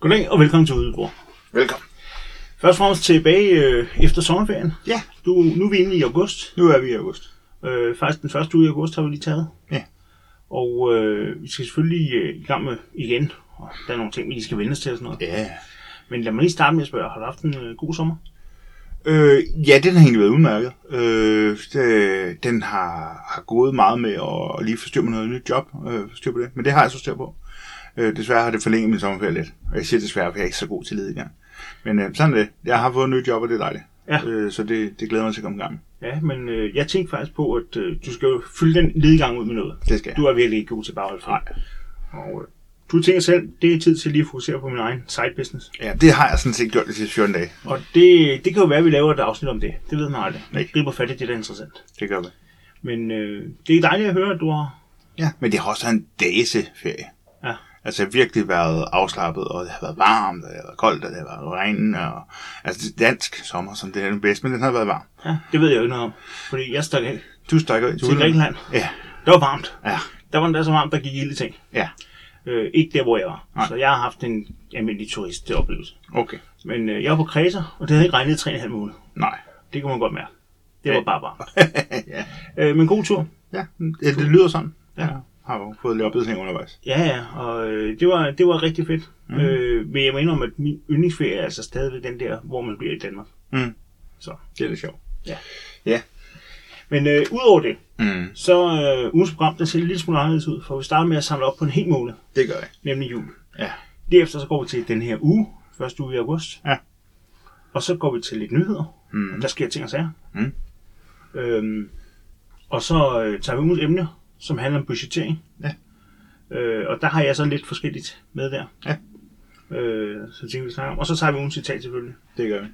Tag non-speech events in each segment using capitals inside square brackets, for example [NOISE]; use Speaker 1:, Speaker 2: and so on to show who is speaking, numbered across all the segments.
Speaker 1: Goddag og velkommen til Udebord.
Speaker 2: Velkommen.
Speaker 1: Først og fremmest tilbage øh, efter sommerferien.
Speaker 2: Ja.
Speaker 1: Du, nu er vi inde i august.
Speaker 2: Nu er vi i august.
Speaker 1: Øh, faktisk den første uge i august har vi lige taget.
Speaker 2: Ja.
Speaker 1: Og øh, vi skal selvfølgelig øh, i gang med igen. Og der er nogle ting, vi lige skal vende os til og sådan noget.
Speaker 2: Ja.
Speaker 1: Men lad mig lige starte med at spørge, har du haft en øh, god sommer?
Speaker 2: Øh, ja, den har egentlig været udmærket. Øh, det, den har, har gået meget med at lige forstyrre med noget nyt job. Øh, forstyr på det. Men det har jeg så styr på. Øh, desværre har det forlænget min sommerferie lidt. Og jeg siger desværre, for jeg er ikke så god til lediggang. Men øh, sådan er det. Jeg har fået et nyt job, og det er dejligt.
Speaker 1: Ja.
Speaker 2: Øh, så det, det glæder mig til at komme i gang. med.
Speaker 1: Ja, men øh, jeg tænkte faktisk på, at øh, du skal jo fylde den ledegang ud med noget.
Speaker 2: Det skal jeg.
Speaker 1: Du er virkelig ikke god til bare at holde fra. Og øh, du tænker selv, det er tid til lige at fokusere på min egen side business.
Speaker 2: Ja, det har jeg sådan set gjort de sidste 14 dage.
Speaker 1: Og det, det kan jo være, at vi laver et afsnit om det. Det ved man aldrig.
Speaker 2: Nej.
Speaker 1: Vi griber fat i det, der er interessant.
Speaker 2: Det gør vi.
Speaker 1: Men øh, det er dejligt at høre, at du har...
Speaker 2: Ja, men det har også været en dageseferie.
Speaker 1: Ja.
Speaker 2: Altså jeg har virkelig været afslappet, og det har været varmt, og det har været koldt, og det har været regn, og altså det er dansk sommer, som det er den bedste, men den har været varm.
Speaker 1: ja, det ved jeg jo ikke noget om. Fordi jeg stak af
Speaker 2: Du stikker ind
Speaker 1: til
Speaker 2: udlandet.
Speaker 1: Grækenland.
Speaker 2: Ja,
Speaker 1: Det var varmt.
Speaker 2: ja,
Speaker 1: Der var endda så varmt, der gik ild i ting.
Speaker 2: ja,
Speaker 1: Øh, ikke der, hvor jeg var.
Speaker 2: Nej.
Speaker 1: Så jeg har haft en almindelig turist til oplevelse.
Speaker 2: okay.
Speaker 1: Men øh, jeg var på Kreta, og det havde ikke regnet i 3,5 måneder.
Speaker 2: Nej.
Speaker 1: Det kunne man godt mærke. Det var
Speaker 2: Ja.
Speaker 1: bare varmt.
Speaker 2: [LAUGHS] ja.
Speaker 1: Øh, men god tur.
Speaker 2: ja, det, det lyder sådan.
Speaker 1: Ja.
Speaker 2: Jeg har jo fået lidt oplevelse undervejs.
Speaker 1: Ja, ja, og øh, det, var, det var rigtig fedt.
Speaker 2: Mhm.
Speaker 1: Mm. Øh, men jeg må indrømme, at min yndlingsferie er altså stadigvæk den der, hvor man bliver i Danmark.
Speaker 2: Mm.
Speaker 1: Så.
Speaker 2: Det er lidt sjovt.
Speaker 1: Men øh, udover det,
Speaker 2: Mm.
Speaker 1: så øh, ugens program, der ser lidt smule anderledes ud, for vi starter med at samle op på en hel måned,
Speaker 2: Det gør jeg.
Speaker 1: nemlig jul.
Speaker 2: Ja.
Speaker 1: Derefter så går vi til den her uge, første uge i august.
Speaker 2: Ja.
Speaker 1: Og så går vi til lidt nyheder.
Speaker 2: Mm.
Speaker 1: Der sker ting og sager.
Speaker 2: Mm.
Speaker 1: Øhm, og så øh, tager vi ugens emne, som handler om budgettering.
Speaker 2: Ja.
Speaker 1: Øh, og der har jeg så lidt forskelligt med der.
Speaker 2: Ja.
Speaker 1: Øh, så tænker vi snakker om. Og så tager vi ugens citat selvfølgelig.
Speaker 2: Det gør vi.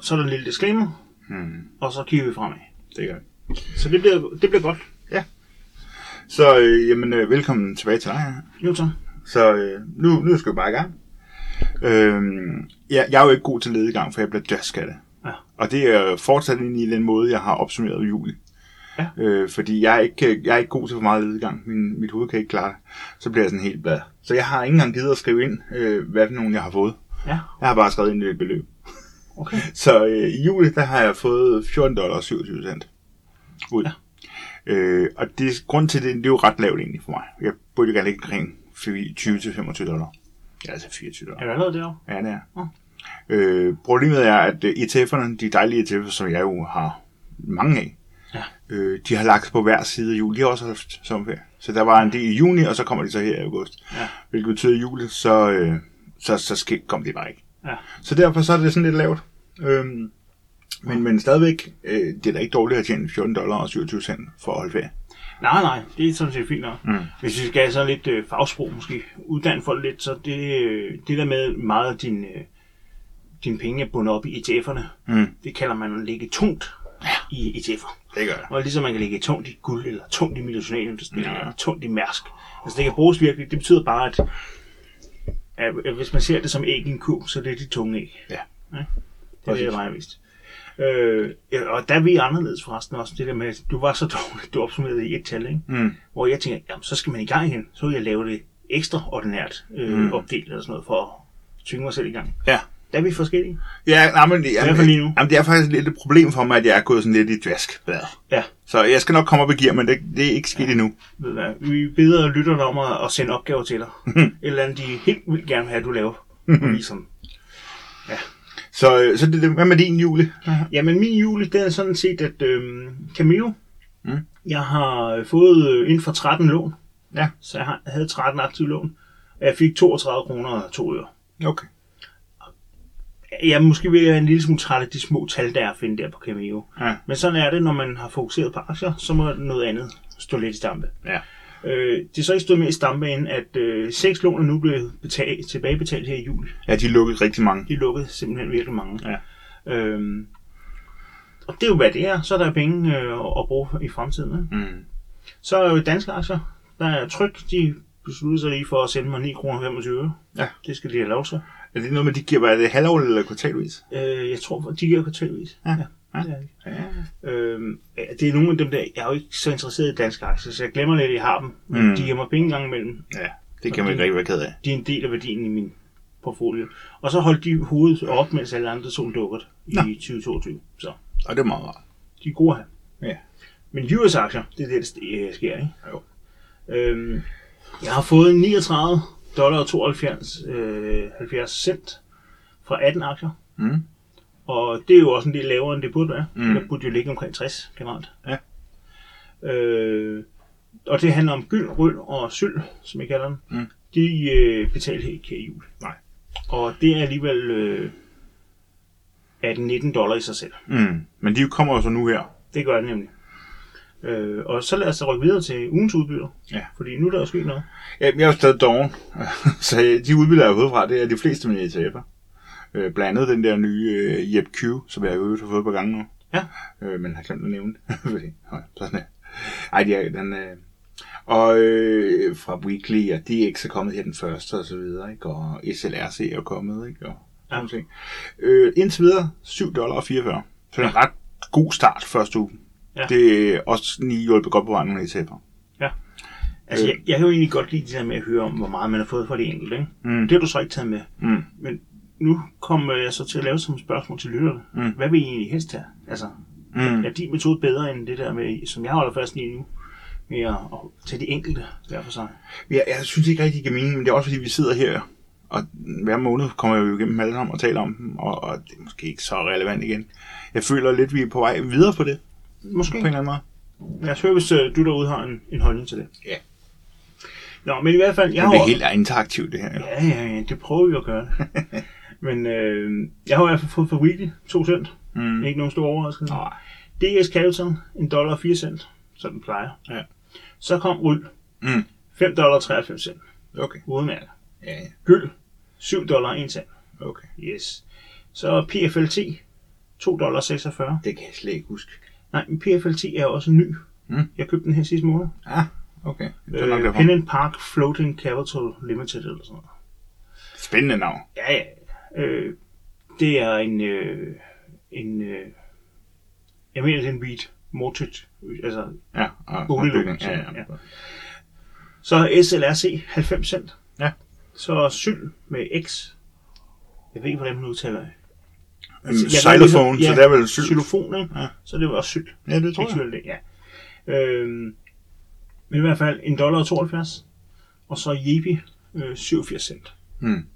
Speaker 1: Så er der en lille disclaimer,
Speaker 2: Mm.
Speaker 1: og så kigger vi fremad.
Speaker 2: Det gør vi.
Speaker 1: Så det bliver, det bliver godt.
Speaker 2: Så øh, jamen, øh, velkommen tilbage til dig her.
Speaker 1: Jo så.
Speaker 2: Så øh, nu, nu skal vi bare i gang. Øhm, jeg, jeg er jo ikke god til ledegang, for jeg bliver døsk af det.
Speaker 1: Ja.
Speaker 2: Og det er fortsat ind i den måde, jeg har opsummeret juli.
Speaker 1: Ja.
Speaker 2: Øh, fordi jeg er, ikke, jeg er ikke god til for meget ledegang. Min, mit hoved kan ikke klare det. Så bliver jeg sådan helt blad. Så jeg har ikke engang givet at skrive ind, øh, hvad for nogen jeg har fået.
Speaker 1: Ja,
Speaker 2: Jeg har bare skrevet ind i et beløb.
Speaker 1: okay.
Speaker 2: [LAUGHS] Så øh, i juli, der har jeg fået 14 dollar og 27 cent ud.
Speaker 1: Ja.
Speaker 2: Ja. Øh, og det, grund til det, det er jo ret lavt egentlig for mig. Jeg burde jo gerne ligge omkring 20-25 dollar. Ja, altså 24 dollar.
Speaker 1: Er du allerede derovre?
Speaker 2: Ja, det er.
Speaker 1: Nå.
Speaker 2: Øh, problemet er, at øh, ETF'erne, de dejlige ETF'er, som jeg jo har mange af,
Speaker 1: Ja.
Speaker 2: øh, de har lagt på hver side af juli. De har også haft sommerferie. Så der var en del i juni, og så kommer de så her i august.
Speaker 1: Ja.
Speaker 2: Hvilket betyder, at i juli, så, øh, så, så ske, kom de bare ikke.
Speaker 1: Ja.
Speaker 2: Så derfor så er det sådan lidt lavt. Øhm, men, men stadigvæk, øh, det er da ikke dårligt at tjene 14 dollar og 27 cent for at holde ferie.
Speaker 1: Nej, nej, det er sådan set fint nok.
Speaker 2: Mm.
Speaker 1: Hvis vi skal have sådan lidt øh, fagsprog måske, uddanne folk lidt, så det, øh, det der med meget af din, øh, din penge er bundet op i ETF'erne,
Speaker 2: Mm.
Speaker 1: det kalder man at ligge tungt i E ETF'er.
Speaker 2: Det gør jeg.
Speaker 1: Og ligesom man kan ligge tungt i guld, eller tungt i millionarindustrien,
Speaker 2: Ja.
Speaker 1: eller tungt i mærsk. Altså det kan bruges virkelig, det betyder bare, at, at, at hvis man ser det som æg i en ko, så er det er de tunge æg.
Speaker 2: Ja.
Speaker 1: Det er det,
Speaker 2: Præcis.
Speaker 1: jeg vejer mest. Øh, ja, og der er vi anderledes forresten også, det der med, at du var så [LAUGHS] dårlig, du opsummerede i et tal, ikke?
Speaker 2: Mm.
Speaker 1: hvor jeg tænker, jamen, så skal man i gang igen, så vil jeg lave det ekstraordinært øh, mm. opdelt eller sådan noget, for at tvinge mig selv i gang.
Speaker 2: Ja.
Speaker 1: Der er vi forskellige.
Speaker 2: Ja, nej, men, det-
Speaker 1: hvert fald lige nu.
Speaker 2: jamen, det er faktisk lidt et problem for mig, at jeg er gået sådan lidt i dvaskbladet.
Speaker 1: Ja,
Speaker 2: Så jeg skal nok komme op i gear, men det, det er ikke sket endnu.
Speaker 1: ved du hvad, vi beder lytterne om at, at sende opgaver til dig. Et eller andet, de helt vildt gerne vil have, at du laver. Og ligesom. viser dem.
Speaker 2: Så, øh, så det, det- hvad med din jule?
Speaker 1: Jamen, min jule, det er sådan set, at øh, Camilo,
Speaker 2: Mm.
Speaker 1: jeg har fået øh, inden for 13 lån.
Speaker 2: Ja.
Speaker 1: Så jeg har, havde 13 aktive lån. Og jeg fik 32 kroner og to øre.
Speaker 2: Okay.
Speaker 1: Jeg er måske ved at være en lille smule træt af de små tal, der er at finde der på Cameo.
Speaker 2: Ja.
Speaker 1: Men sådan er det, når man har fokuseret på aktier, så må noget andet stå lidt i stampe.
Speaker 2: Ja.
Speaker 1: Øh, det er så ikke stået mere i stampe, end at øh, seks lån er nu blevet betalt, tilbagebetalt her i juli.
Speaker 2: Ja, de lukkede rigtig mange.
Speaker 1: De lukkede simpelthen virkelig mange.
Speaker 2: Ja.
Speaker 1: Øhm, og det er jo, hvad det er. Så er der penge øh, at at bruge i fremtiden. Ikke?
Speaker 2: Mm.
Speaker 1: Så er jo danske aktier. Der er tryk. De besluttede sig lige for at sende mig 9,25 kroner.
Speaker 2: Ja.
Speaker 1: Det skal de have lov til.
Speaker 2: Er det noget med, de giver, hvad er det halvårligt eller kvartalvis?
Speaker 1: Øh, jeg tror, de giver kvartalvis.
Speaker 2: Ja.
Speaker 1: ja. det er det.
Speaker 2: Ja.
Speaker 1: Øhm, ja, det er nogle af dem der, jeg er jo ikke så interesseret i danske aktier, så jeg glemmer lidt, at jeg har dem. Men
Speaker 2: Mm.
Speaker 1: de giver mig penge gang imellem.
Speaker 2: ja. Det kan man ikke rigtig være ked af.
Speaker 1: De er en del af værdien i min portfolio. Og så holdt de hovedet op, mens alle andre så lukket i
Speaker 2: Nå.
Speaker 1: 2022. Så
Speaker 2: Og det er meget rart.
Speaker 1: de er gode her.
Speaker 2: Ja.
Speaker 1: Men US aktier, det er det, der øh, sker, ikke?
Speaker 2: Jo.
Speaker 1: Øhm, jeg har fået 39 dollar og 72 øh, 70 cent fra 18 aktier.
Speaker 2: Mm.
Speaker 1: Og det er jo også en del lavere, end det burde være.
Speaker 2: Mm.
Speaker 1: Mm. Det burde jo ligge omkring 60 generelt.
Speaker 2: Ja.
Speaker 1: Øh, og det handler om gyld, røl og syl, som jeg kalder dem.
Speaker 2: Mm.
Speaker 1: De øh, betalte ikke her i jul.
Speaker 2: Nej.
Speaker 1: Og det er alligevel øh, 18-19 dollar i sig selv.
Speaker 2: Mm. Men de kommer jo så nu her.
Speaker 1: Det gør det nemlig. Øh, og så lad os så rykke videre til ugens udbyder.
Speaker 2: Ja.
Speaker 1: Fordi nu er der jo sket noget.
Speaker 2: Ja, jeg er jo stadig doven, [LAUGHS] så de udbyder jeg udefra, det er de fleste mine ETF'er. Øh, blandt andet den der nye øh, Jeb Q, som jeg i øvrigt har fået på gange nu.
Speaker 1: Ja.
Speaker 2: Øh, men har glemt at nævne det. [LAUGHS] Fordi, høj, sådan er. Ej, de er, den, øh, og øh, fra Weekly, og DX er kommet her den første, og så videre, ikke? Og SLRC er kommet, ikke? Og
Speaker 1: Ja.
Speaker 2: sådan ting. Øh, indtil videre, 7 dollar og 44. Så det er en ret god start første uge.
Speaker 1: Ja.
Speaker 2: Det er også lige hjulpet godt på vejen nogle ETF'er.
Speaker 1: Altså,
Speaker 2: Øh.
Speaker 1: jeg, jeg kan jo egentlig godt lide det der med at høre om, hvor meget man har fået fra det enkelte. Ikke?
Speaker 2: Mm.
Speaker 1: Det har du så ikke taget med.
Speaker 2: Mm.
Speaker 1: Men nu kommer jeg så til at lave som et spørgsmål til lytterne.
Speaker 2: Mm.
Speaker 1: Hvad vil I egentlig helst have? Altså,
Speaker 2: Mm.
Speaker 1: er din metode bedre end det der med, som jeg holder fast i nu, med at, at tage de enkelte hver for sig?
Speaker 2: Jeg, jeg synes ikke rigtig, det giver mening, men det er også fordi, vi sidder her, og hver måned kommer jeg jo igennem dem alle sammen og taler om dem, og, og det er måske ikke så relevant igen. Jeg føler lidt, vi er på vej videre på det,
Speaker 1: Måske.
Speaker 2: på en eller anden måde.
Speaker 1: Lad os høre, hvis øh, du derude har en, en holdning til det.
Speaker 2: Ja.
Speaker 1: Nå, men i hvert fald, jeg
Speaker 2: Men
Speaker 1: har
Speaker 2: det er
Speaker 1: jo-
Speaker 2: helt interaktivt, det her. jo.
Speaker 1: Ja, ja, ja, det prøver vi at
Speaker 2: [LAUGHS]
Speaker 1: gøre. Men øh, jeg har i hvert fald fået for weekly, 2 cent.
Speaker 2: Mm.
Speaker 1: Ikke nogen stor overraskelse.
Speaker 2: Nej.
Speaker 1: DS Capital, en dollar og 4 cent, som den plejer.
Speaker 2: Ja.
Speaker 1: Så kom Ryl,
Speaker 2: Mm.
Speaker 1: 5 dollar og 93 cent,
Speaker 2: Okay.
Speaker 1: udmærket.
Speaker 2: Ja, ja.
Speaker 1: Gyld, 7 dollar og 1 cent,
Speaker 2: Okay.
Speaker 1: yes. Så PFLT, 2 dollar og 46.
Speaker 2: Det kan jeg slet ikke huske.
Speaker 1: Nej, men PFLT er også ny.
Speaker 2: Mm.
Speaker 1: Jeg købte den her sidste måned.
Speaker 2: Ah, okay. Det er nok
Speaker 1: Øh,
Speaker 2: derfor.
Speaker 1: Pen and Park Floating Capital Limited eller sådan noget.
Speaker 2: Spændende navn.
Speaker 1: Ja, ja. Øh, det er en, øh, en øh, jeg mener, det er en beat mortgage. Altså,
Speaker 2: Ja, og, og
Speaker 1: Boliglån,
Speaker 2: bygning. Ja, ja.
Speaker 1: ja.
Speaker 2: ja.
Speaker 1: så SLRC 90 cent.
Speaker 2: Ja.
Speaker 1: Så syl med X. Jeg ved ikke, hvordan man udtaler det.
Speaker 2: Øhm,
Speaker 1: Jeg
Speaker 2: Xylophone,
Speaker 1: ved ikke,
Speaker 2: så
Speaker 1: ja,
Speaker 2: det er vel syl.
Speaker 1: Xylofon, ikke?
Speaker 2: Ja.
Speaker 1: Så det var også syl.
Speaker 2: Ja, det tror
Speaker 1: Ikke
Speaker 2: jeg.
Speaker 1: syl, det, ja. Øhm, men i hvert fald en dollar og 72. Og så Jepi, øh, 87 cent.
Speaker 2: Mm.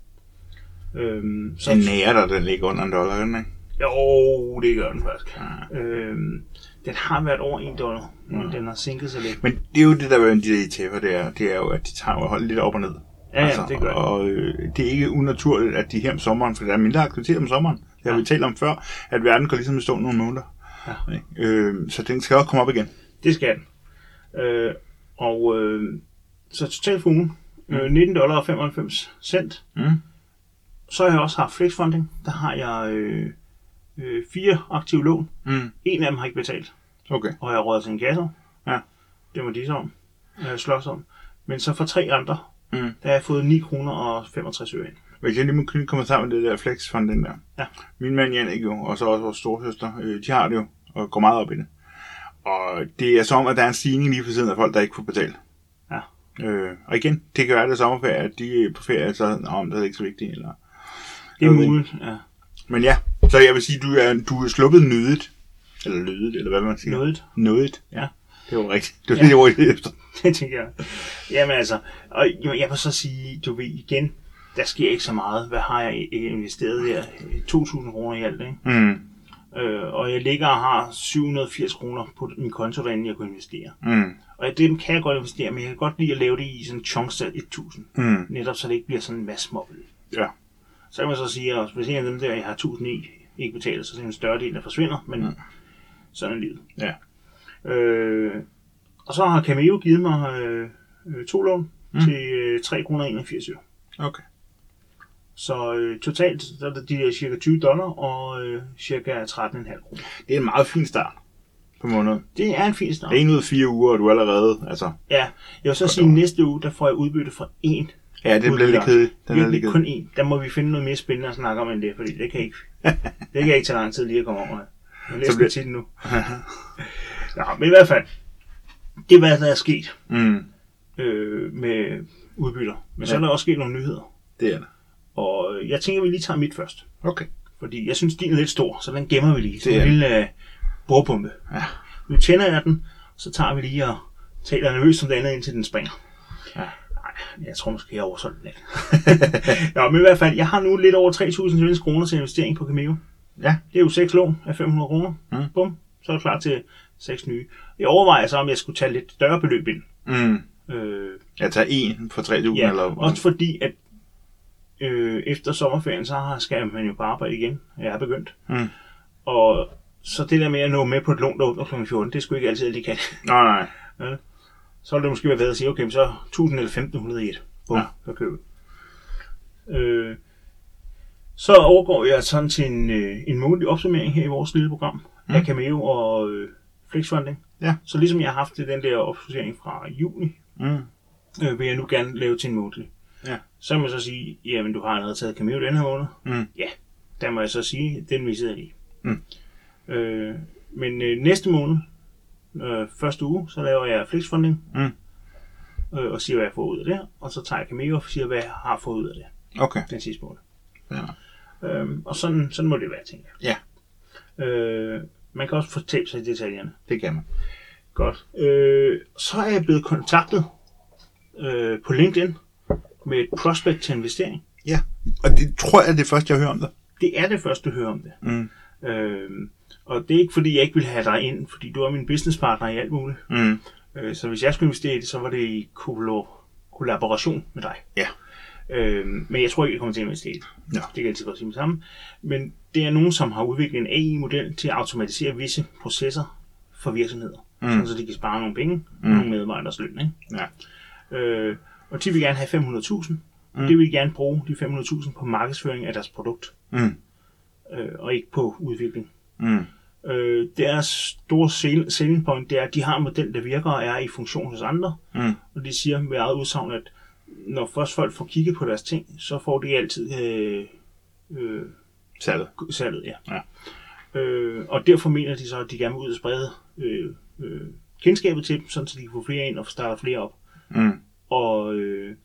Speaker 1: Øhm, så,
Speaker 2: Så nærer der, den ligger under en dollar, gør den, ikke?
Speaker 1: Jo, det gør den faktisk.
Speaker 2: Ja.
Speaker 1: Øhm, den har været over 1 dollar, men
Speaker 2: Ja.
Speaker 1: den har sænket sig lidt.
Speaker 2: Men det er jo det, der er med de ETF'er, det er, det er jo, at de tager jo holdet lidt op og ned.
Speaker 1: Ja, altså, det gør den.
Speaker 2: Og øh, det er ikke unaturligt, at de her om sommeren, for der er mindre aktivitet om sommeren. Det har ja.
Speaker 1: Ja.
Speaker 2: vi talt om før, at verden går ligesom i stå nogle måneder.
Speaker 1: Ja.
Speaker 2: Ikke? Øh, så den skal også komme op igen.
Speaker 1: Det skal den. Øh, og øh, så totalt for ugen, øh, 19 dollar og 95 cent.
Speaker 2: Mm.
Speaker 1: Så har jeg også haft flexfunding. Der har jeg øh, øh, fire aktive lån.
Speaker 2: Mm.
Speaker 1: En af dem har ikke betalt,
Speaker 2: Okay.
Speaker 1: og jeg har rådet til en gasser.
Speaker 2: Ja.
Speaker 1: Det var de så om. Øh, slås om. Men så for tre andre,
Speaker 2: Mm.
Speaker 1: der har jeg fået 9 kroner og 65 øre ind.
Speaker 2: Hvis jeg lige må knytte en kommentar med det der flex fra den der.
Speaker 1: Ja.
Speaker 2: Min mand Jannik jo, og så også vores storsøster, øh, de har det jo, og går meget op i det. Og det er som om, at der er en stigning lige for siden af folk, der ikke får betalt.
Speaker 1: Ja.
Speaker 2: Øh, og igen, det kan være det sommerferie, at de er på ferie, så om det er ikke så vigtigt. Eller...
Speaker 1: Det er
Speaker 2: Okay.
Speaker 1: muligt, ja.
Speaker 2: Men ja, så jeg vil sige, du er, du er sluppet nødigt. Eller lødet, eller hvad man siger.
Speaker 1: Nådigt.
Speaker 2: Nødigt.
Speaker 1: Ja.
Speaker 2: Det var rigtigt. Det var
Speaker 1: Ja.
Speaker 2: lige det ord, jeg ledte efter.
Speaker 1: [LAUGHS] Det tænker jeg. Jamen altså, og jo, jeg vil så sige, du ved igen, der sker ikke så meget. Hvad har jeg i- investeret her? 2.000 kroner i alt, ikke?
Speaker 2: Mm,
Speaker 1: Øh, og jeg ligger og har 780 kroner på min konto, derinde, jeg kunne investere.
Speaker 2: mm,
Speaker 1: Og det kan jeg godt investere, men jeg kan godt lide at lave det i sådan en chunks af 1.000.
Speaker 2: mm.
Speaker 1: Netop så det ikke bliver sådan en masse mobbel.
Speaker 2: Ja.
Speaker 1: Så kan man så sige, at hvis en af dem der, jeg har 1.000 i, ikke betaler, så er det en større del, der forsvinder, men
Speaker 2: Ja.
Speaker 1: sådan er livet.
Speaker 2: Mm. Ja.
Speaker 1: Øh, og så har Cameo givet mig øh, øh, to lån
Speaker 2: Mm.
Speaker 1: mm. til øh, 3,81 kroner.
Speaker 2: Okay.
Speaker 1: Så øh, totalt så er det de der cirka 20 dollar og øh, cirka 13,5 kroner.
Speaker 2: Det er en meget fin start på måneden.
Speaker 1: Det er en fin start.
Speaker 2: Det er en ud af fire uger, og du er allerede, altså...
Speaker 1: Ja, jeg vil så
Speaker 2: Godt
Speaker 1: sige,
Speaker 2: over.
Speaker 1: at næste uge, der får jeg udbytte fra én.
Speaker 2: Ja, den bliver lidt
Speaker 1: Udlagt.
Speaker 2: kedelig. Den er lidt
Speaker 1: Virkelig
Speaker 2: kedelig.
Speaker 1: kun én. Der må vi finde noget mere spændende at snakke om end det, fordi det kan
Speaker 2: [LAUGHS]
Speaker 1: ikke, det kan ikke tage lang tid lige at komme over. Jeg er næsten
Speaker 2: bliver-
Speaker 1: tit nu. Nå, men i hvert fald, det er hvad der er sket
Speaker 2: [LAUGHS] Mm,
Speaker 1: øh, med udbytter. Men så er
Speaker 2: Ja.
Speaker 1: der også sket nogle nyheder.
Speaker 2: det er det.
Speaker 1: Og øh, jeg tænker, at vi lige tager mit først.
Speaker 2: Okay.
Speaker 1: Fordi jeg synes, din er lidt stor, så den gemmer vi lige. Så
Speaker 2: Det
Speaker 1: en
Speaker 2: er
Speaker 1: lille øh, bordpumpe.
Speaker 2: Ja.
Speaker 1: Nu tænder jeg den, så tager vi lige og taler nervøst om det andet, indtil den springer.
Speaker 2: Ja.
Speaker 1: Ej, jeg tror måske, jeg oversolgte den lidt. [LAUGHS] Nå, men i hvert fald, jeg har nu lidt over 3.000 svenske kroner til investering på Cameo.
Speaker 2: Ja.
Speaker 1: Det er jo 6 lån af 500 kroner.
Speaker 2: Mm.
Speaker 1: Bum, så er du klar til 6 nye. Jeg overvejer så, om jeg skulle tage lidt større beløb ind.
Speaker 2: Mm.
Speaker 1: Øh,
Speaker 2: Jeg tager en for 3.000
Speaker 1: Ja,
Speaker 2: eller...
Speaker 1: også fordi, at øh, efter sommerferien, så har- skal man jo på arbejde igen. Jeg er begyndt.
Speaker 2: Mm.
Speaker 1: Og så det der med at nå med på et lån, der åbner kl. 14, det skulle ikke altid, at de kan. [LAUGHS]
Speaker 2: Nej, nej.
Speaker 1: Så ville det måske være bedre at sige, okay, men så 1000 eller 1500 i et. Bum,
Speaker 2: Ja.
Speaker 1: ja. så køber vi. øh, Så overgår jeg sådan til en, øh, en månedlig opsummering her i vores lille program mm. af Cameo og øh, Flexfunding.
Speaker 2: Ja.
Speaker 1: Så ligesom jeg har haft den der opsummering fra juni,
Speaker 2: Mm.
Speaker 1: øh, vil jeg nu gerne lave til en månedlig.
Speaker 2: Ja.
Speaker 1: Så kan man så sige, jamen du har allerede taget Cameo den her måned.
Speaker 2: Mm.
Speaker 1: Ja, der må jeg så sige, den missede jeg lige.
Speaker 2: Mm.
Speaker 1: Øh, men øh, næste måned, øh, første uge, så laver jeg flexfunding.
Speaker 2: Mm.
Speaker 1: Øh, og siger, hvad jeg får ud af det. Og så tager jeg Cameo og siger, hvad jeg har fået ud af det
Speaker 2: Okay.
Speaker 1: den sidste måned.
Speaker 2: Ja.
Speaker 1: Øhm, og sådan, sådan må det være, tænker jeg. Ja. Øh, man kan også fortælle sig i detaljerne.
Speaker 2: Det kan man.
Speaker 1: Godt. Øh, så er jeg blevet kontaktet øh, på LinkedIn med et prospect til investering.
Speaker 2: Ja. Og det tror jeg er det første, jeg hører om dig.
Speaker 1: Det er det første, du hører om det.
Speaker 2: Mm.
Speaker 1: Øh, og det er ikke, fordi jeg ikke vil have dig ind, fordi du er min businesspartner i alt muligt.
Speaker 2: Mm.
Speaker 1: Øh, så hvis jeg skulle investere i det, så var det i kollo- kollaboration med dig.
Speaker 2: Ja.
Speaker 1: Øh, men jeg tror ikke, jeg kommer til at investere i det.
Speaker 2: Nå.
Speaker 1: Det kan jeg altid godt sige med sammen. Men det er nogen, som har udviklet en AI-model til at automatisere visse processer for virksomheder. Mm. Sådan, så de kan spare nogle penge mm. og nogle medarbejderes løn. Ikke?
Speaker 2: Ja.
Speaker 1: Øh, og de vil gerne have 500.000. Mm. Det vil de gerne bruge, de 500.000, på markedsføring af deres produkt.
Speaker 2: Mm.
Speaker 1: Øh, og ikke på udvikling.
Speaker 2: Mm.
Speaker 1: Øh, deres store sel- selling point, det er, at de har en model, der virker og er i funktion hos andre.
Speaker 2: Mm.
Speaker 1: Og de siger med eget udsagn, at når først folk får kigget på deres ting, så får de altid øh, øh,
Speaker 2: Salget.
Speaker 1: salget. Ja.
Speaker 2: Ja.
Speaker 1: Øh, og derfor mener de så, at de gerne vil ud og sprede øh, øh, kendskabet til dem, sådan så de kan få flere ind og starte flere op.
Speaker 2: Mm.
Speaker 1: Og øh,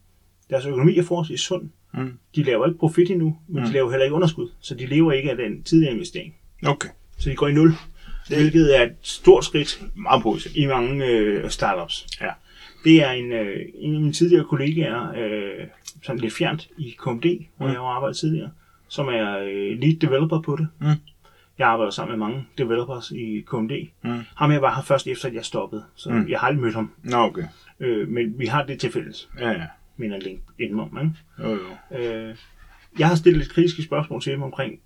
Speaker 1: deres økonomi er forholdsvis sund.
Speaker 2: Mm.
Speaker 1: De laver ikke profit endnu, men mm. de laver heller ikke underskud, så de lever ikke af den tidligere investering.
Speaker 2: Okay.
Speaker 1: Så de går i nul, hvilket er et stort skridt
Speaker 2: Meget positivt.
Speaker 1: i mange øh, startups.
Speaker 2: Ja.
Speaker 1: Det er en, øh, en af mine tidligere kollegaer, øh, sådan lidt fjernt i KMD,
Speaker 2: Mm.
Speaker 1: hvor jeg har arbejdet tidligere, som er øh, lead developer på det.
Speaker 2: Mm.
Speaker 1: Jeg arbejder sammen med mange developers i KMD.
Speaker 2: Mm.
Speaker 1: Ham jeg var her først efter, at jeg stoppede, så mm. jeg har aldrig mødt ham.
Speaker 2: Nå, okay.
Speaker 1: Øh, men vi har det til fælles,
Speaker 2: Ja, ja.
Speaker 1: mener LinkedIn om. Ikke?
Speaker 2: Jo, jo.
Speaker 1: Øh, jeg har stillet lidt kritiske spørgsmål til dem omkring,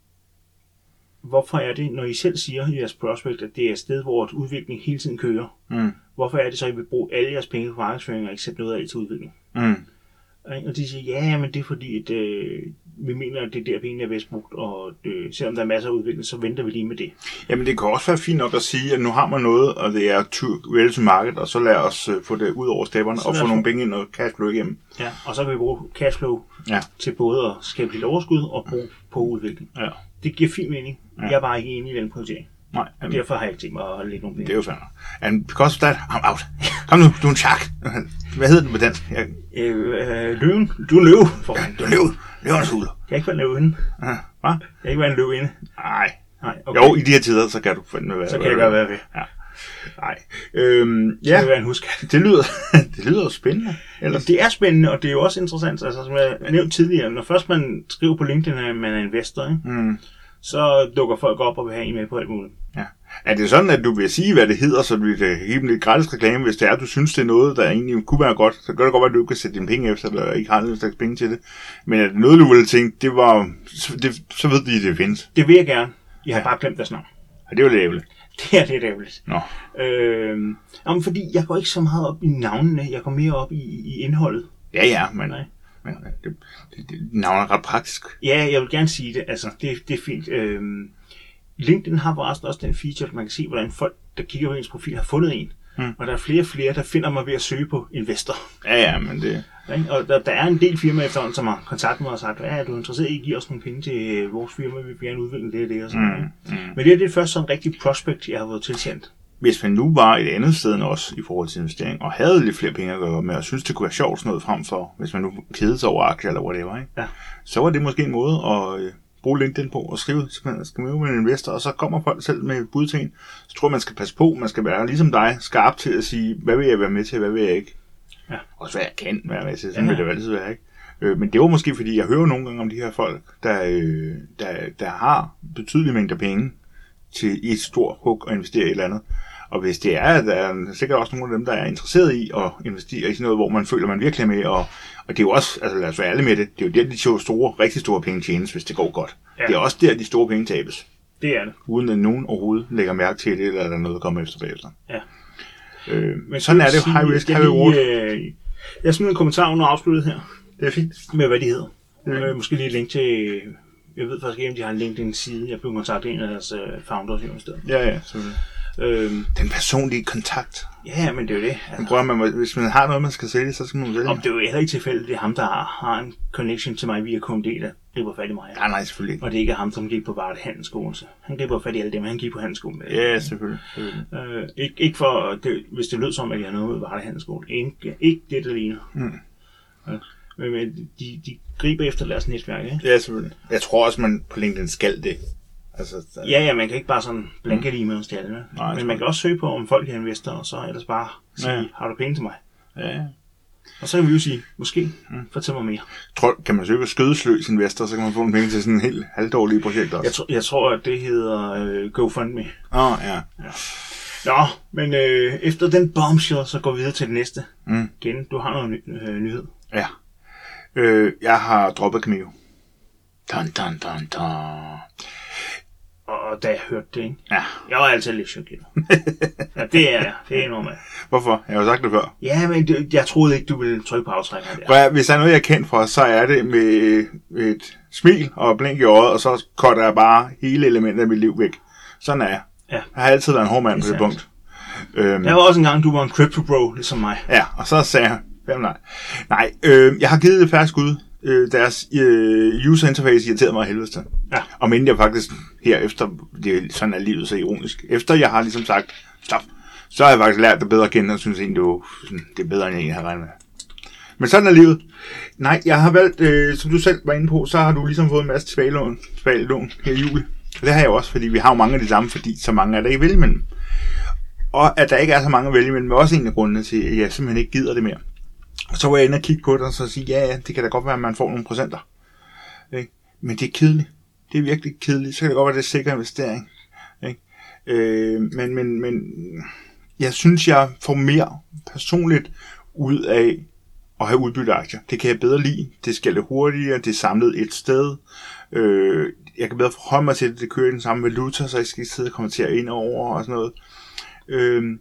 Speaker 1: hvorfor er det, når I selv siger i jeres prospect, at det er et sted, hvor udviklingen hele tiden kører,
Speaker 2: Mm.
Speaker 1: hvorfor er det så, at I vil bruge alle jeres penge på markedsføring og ikke sætte noget af det til udvikling?
Speaker 2: Mm.
Speaker 1: Og de siger, ja, men det er fordi, at øh, vi mener, at det er der, pengene er bedst brugt, og øh, selvom der er masser af udvikling, så venter vi lige med det.
Speaker 2: Jamen, det kan også være fint nok at sige, at nu har man noget, og det er to- ready to market, og så lad os øh, få det ud over stepperne
Speaker 1: Så
Speaker 2: og
Speaker 1: lad
Speaker 2: få
Speaker 1: os-
Speaker 2: nogle penge ind og cash flow igennem.
Speaker 1: Ja. Og så kan vi bruge cashflow
Speaker 2: Ja.
Speaker 1: til både at skabe lidt overskud og bruge på udvikling.
Speaker 2: Ja.
Speaker 1: Det giver fin mening. Ja. Jeg er bare ikke enig i den prioritering.
Speaker 2: Nej,
Speaker 1: Og
Speaker 2: jamen,
Speaker 1: derfor har jeg ikke tænkt mig at lægge nogen
Speaker 2: det
Speaker 1: penge.
Speaker 2: er jo fair nok. And because of that, I'm out. [LAUGHS] Kom nu, du er en shark. [LAUGHS] Hvad hedder den på dansk? Jeg,
Speaker 1: Øh, øh, løven. Du er en løve. For
Speaker 2: ja,
Speaker 1: fanden.
Speaker 2: du er løvet. Løvernes huler.
Speaker 1: Jeg kan ikke være en løvinde.
Speaker 2: Ja, Hva?
Speaker 1: Jeg kan ikke være en løvinde.
Speaker 2: Nej.
Speaker 1: Nej,
Speaker 2: Jo, i de her tider, så kan du fandme være.
Speaker 1: Så kan jeg gøre, hvad jeg vil.
Speaker 2: Ja. Nej. Øhm,
Speaker 1: Jeg
Speaker 2: ja,
Speaker 1: kan være en huskat.
Speaker 2: det lyder, [LAUGHS] det lyder jo spændende. Ellers.
Speaker 1: Det er spændende, og det er jo også interessant, altså som jeg nævnte tidligere, når først man skriver på LinkedIn, at man er investor, ikke?
Speaker 2: Mm.
Speaker 1: så dukker folk op og vil have en med på alt muligt.
Speaker 2: Ja. Er det sådan, at du vil sige, hvad det hedder, så vi kan give dem lidt gratis reklame, hvis det er, du synes, det er noget, der egentlig kunne være godt? Så gør det godt, være, at du ikke kan sætte dine penge efter, eller ikke har nogen slags penge til det. Men er det noget, du ville tænke, det var, så- det, så ved de, det findes.
Speaker 1: Det vil jeg gerne. Jeg har bare glemt deres navn. [LAUGHS]
Speaker 2: Og det er jo lidt ærgerligt.
Speaker 1: Det er lidt ærgerligt.
Speaker 2: Nå.
Speaker 1: Øh, jamen, fordi jeg går ikke så meget op i navnene, jeg går mere op i, i indholdet.
Speaker 2: Ja, ja, men,
Speaker 1: Nej.
Speaker 2: men det, det, det, navnet er ret praktisk.
Speaker 1: Ja, jeg vil gerne sige det, altså det, det er fint. Øh, LinkedIn har forresten også den feature, at man kan se, hvordan folk, der kigger på ens profil, har fundet en. Mm. Og der er flere og flere, der finder mig ved at søge på investor.
Speaker 2: Ja, ja, men det...
Speaker 1: Ikke? Og der, der er en del firmaer efterhånden, som har kontaktet mig og sagt, ja, er du interesseret i at give os nogle penge til øh, vores firma, vi vil gerne udvikle det og det og sådan mm.
Speaker 2: Mm.
Speaker 1: Men det er det første sådan rigtig prospect, jeg har fået tilsendt.
Speaker 2: hvis man nu var et andet sted end os i forhold til investering, og havde lidt flere penge at gøre med, og synes det kunne være sjovt sådan noget frem for, hvis man nu kedede sig over aktier eller whatever, ikke?
Speaker 1: Ja.
Speaker 2: så var det måske en måde at øh, bruge LinkedIn på og skrive, så man skal møde med en investor, og så kommer folk selv med et bud til en. Så tror jeg, man skal passe på, man skal være ligesom dig, skarp til at sige, hvad vil jeg være med til, hvad vil jeg ikke.
Speaker 1: Ja.
Speaker 2: Også hvad jeg kan være med til, sådan
Speaker 1: Ja.
Speaker 2: ja. vil det jo altid være, ikke? Øh, men det var måske, fordi jeg hører nogle gange om de her folk, der, øh, der, der har betydelige mængder penge til i et stort hug og investere i et eller andet. Og hvis det er, at der er sikkert også nogle af dem, der er interesseret i at investere i sådan noget, hvor man føler, man virkelig er med, og, og det er jo også, altså lad os være alle med det, det er jo der, de to store, rigtig store penge tjenes, hvis det går godt.
Speaker 1: Ja.
Speaker 2: Ja. Det er også der, de store penge tabes,
Speaker 1: Det er det.
Speaker 2: uden at nogen overhovedet lægger mærke til det, eller er der noget, der kommer efter bagefter.
Speaker 1: Ja.
Speaker 2: Øh, men sådan er det,
Speaker 1: sige,
Speaker 2: high risk,
Speaker 1: jeg
Speaker 2: high
Speaker 1: lige,
Speaker 2: reward.
Speaker 1: Øh, jeg smider en kommentar under afsluttet her,
Speaker 2: Det er fint.
Speaker 1: med hvad de hedder. Øh, måske lige et link til, jeg ved faktisk ikke, om de har en LinkedIn-side. Jeg blev kontaktet af en af deres øh, founders her i stedet.
Speaker 2: Ja, ja. selvfølgelig.
Speaker 1: Øhm,
Speaker 2: Den personlige kontakt.
Speaker 1: ja, men det er jo det.
Speaker 2: Man
Speaker 1: Altså,
Speaker 2: prøver, man, må- hvis man har noget, man skal sælge, så skal man sælge.
Speaker 1: om det er jo heller ikke tilfældigt, det er ham, der har, har en connection til mig via KMD, der griber fat i mig.
Speaker 2: Nej, nej, selvfølgelig ikke.
Speaker 1: Og det er ikke ham, som gik på bare et handelsskolen. så Han griber fat i alle dem, han gik på handelsskolen med.
Speaker 2: Ja, selvfølgelig. selvfølgelig.
Speaker 1: Øh, ikke, ikke for, det, hvis det lød som, at jeg havde noget ud af Varde Handelsskole. Ikke, ikke det, der ligner.
Speaker 2: Mm.
Speaker 1: Ja. Men, men de, de griber efter deres netværk, ikke?
Speaker 2: Ja, selvfølgelig. Jeg tror også, man på LinkedIn skal det. Altså, der-
Speaker 1: Ja, ja, man kan ikke bare sådan blanke lige med til alle. vel?
Speaker 2: Mm. Nej,
Speaker 1: men
Speaker 2: det
Speaker 1: man kan også søge på, om folk er investorer, og så ellers bare sige,
Speaker 2: Ja.
Speaker 1: har du penge til mig?
Speaker 2: ja.
Speaker 1: Og så kan vi jo sige, måske,
Speaker 2: Mm.
Speaker 1: fortæl mig mere.
Speaker 2: Tror, kan man søge på skødesløs investor, så kan man få nogle penge til sådan en helt halvdårlig projekt også.
Speaker 1: Jeg, tr- jeg tror, at det hedder øh, GoFundMe.
Speaker 2: Åh, oh, ja.
Speaker 1: Nå, men øh, efter den bombshell, så går vi videre til det næste.
Speaker 2: Mm.
Speaker 1: Igen, du har noget ny- øh, nyhed.
Speaker 2: ja. Øh, jeg har droppet Cameo. Dun, dun, dun, dun.
Speaker 1: Og, og da jeg hørte det, ikke?
Speaker 2: Ja.
Speaker 1: Jeg var altid lidt chokeret. ja, det er jeg. Det er normalt.
Speaker 2: Hvorfor? Jeg har jo sagt det før.
Speaker 1: Ja, men det, jeg troede ikke, du ville trykke på aftrækkeren der.
Speaker 2: Prøv, at- hvis der er noget, jeg er kendt for, så er det med et smil og blink i øjet, og så cutter jeg bare hele elementet af mit liv væk. Sådan er jeg.
Speaker 1: Ja.
Speaker 2: Jeg har altid været en hård mand
Speaker 1: Det
Speaker 2: på
Speaker 1: er
Speaker 2: det punkt. Øhm,
Speaker 1: Der var også en gang, du var en crypto bro, ligesom mig.
Speaker 2: Ja, og så sagde jeg, hvem nej. Nej, øh, jeg har givet det færre skud. Øh, deres øh, user interface irriterede mig af helvede til.
Speaker 1: Ja.
Speaker 2: Og men jeg faktisk herefter, det er, sådan er livet så ironisk, efter jeg har ligesom sagt, stop, så har jeg faktisk lært det bedre at kende, og synes egentlig, det, var, sådan, det er bedre, end jeg egentlig havde regnet med. Men sådan er livet. Nej, jeg har valgt, øh, som du selv var inde på, så har du ligesom fået en masse tilbagelån, tilbagelån her i juli. Og det har jeg jo også, fordi vi har jo mange af de samme, fordi så mange er der ikke vælge imellem. Og at der ikke er så mange at vælge imellem, er også en af grundene til, at jeg simpelthen ikke gider det mere. Og så var jeg inde og kigge på det, og så sige, ja, ja, det kan da godt være, at man får nogle procenter. Ikke? Men det er kedeligt. Det er virkelig kedeligt. Så kan det godt være, at det er sikker investering. Ikke? Øh, men, men, men jeg synes, jeg får mere personligt ud af at have udbytteaktier. Det kan jeg bedre lide. Det skal lidt hurtigere. Det er samlet et sted. Øh, jeg kan bedre forholde mig til, at det kører i den samme valuta, så jeg skal ikke sidde og kommentere ind over og sådan noget. Øh,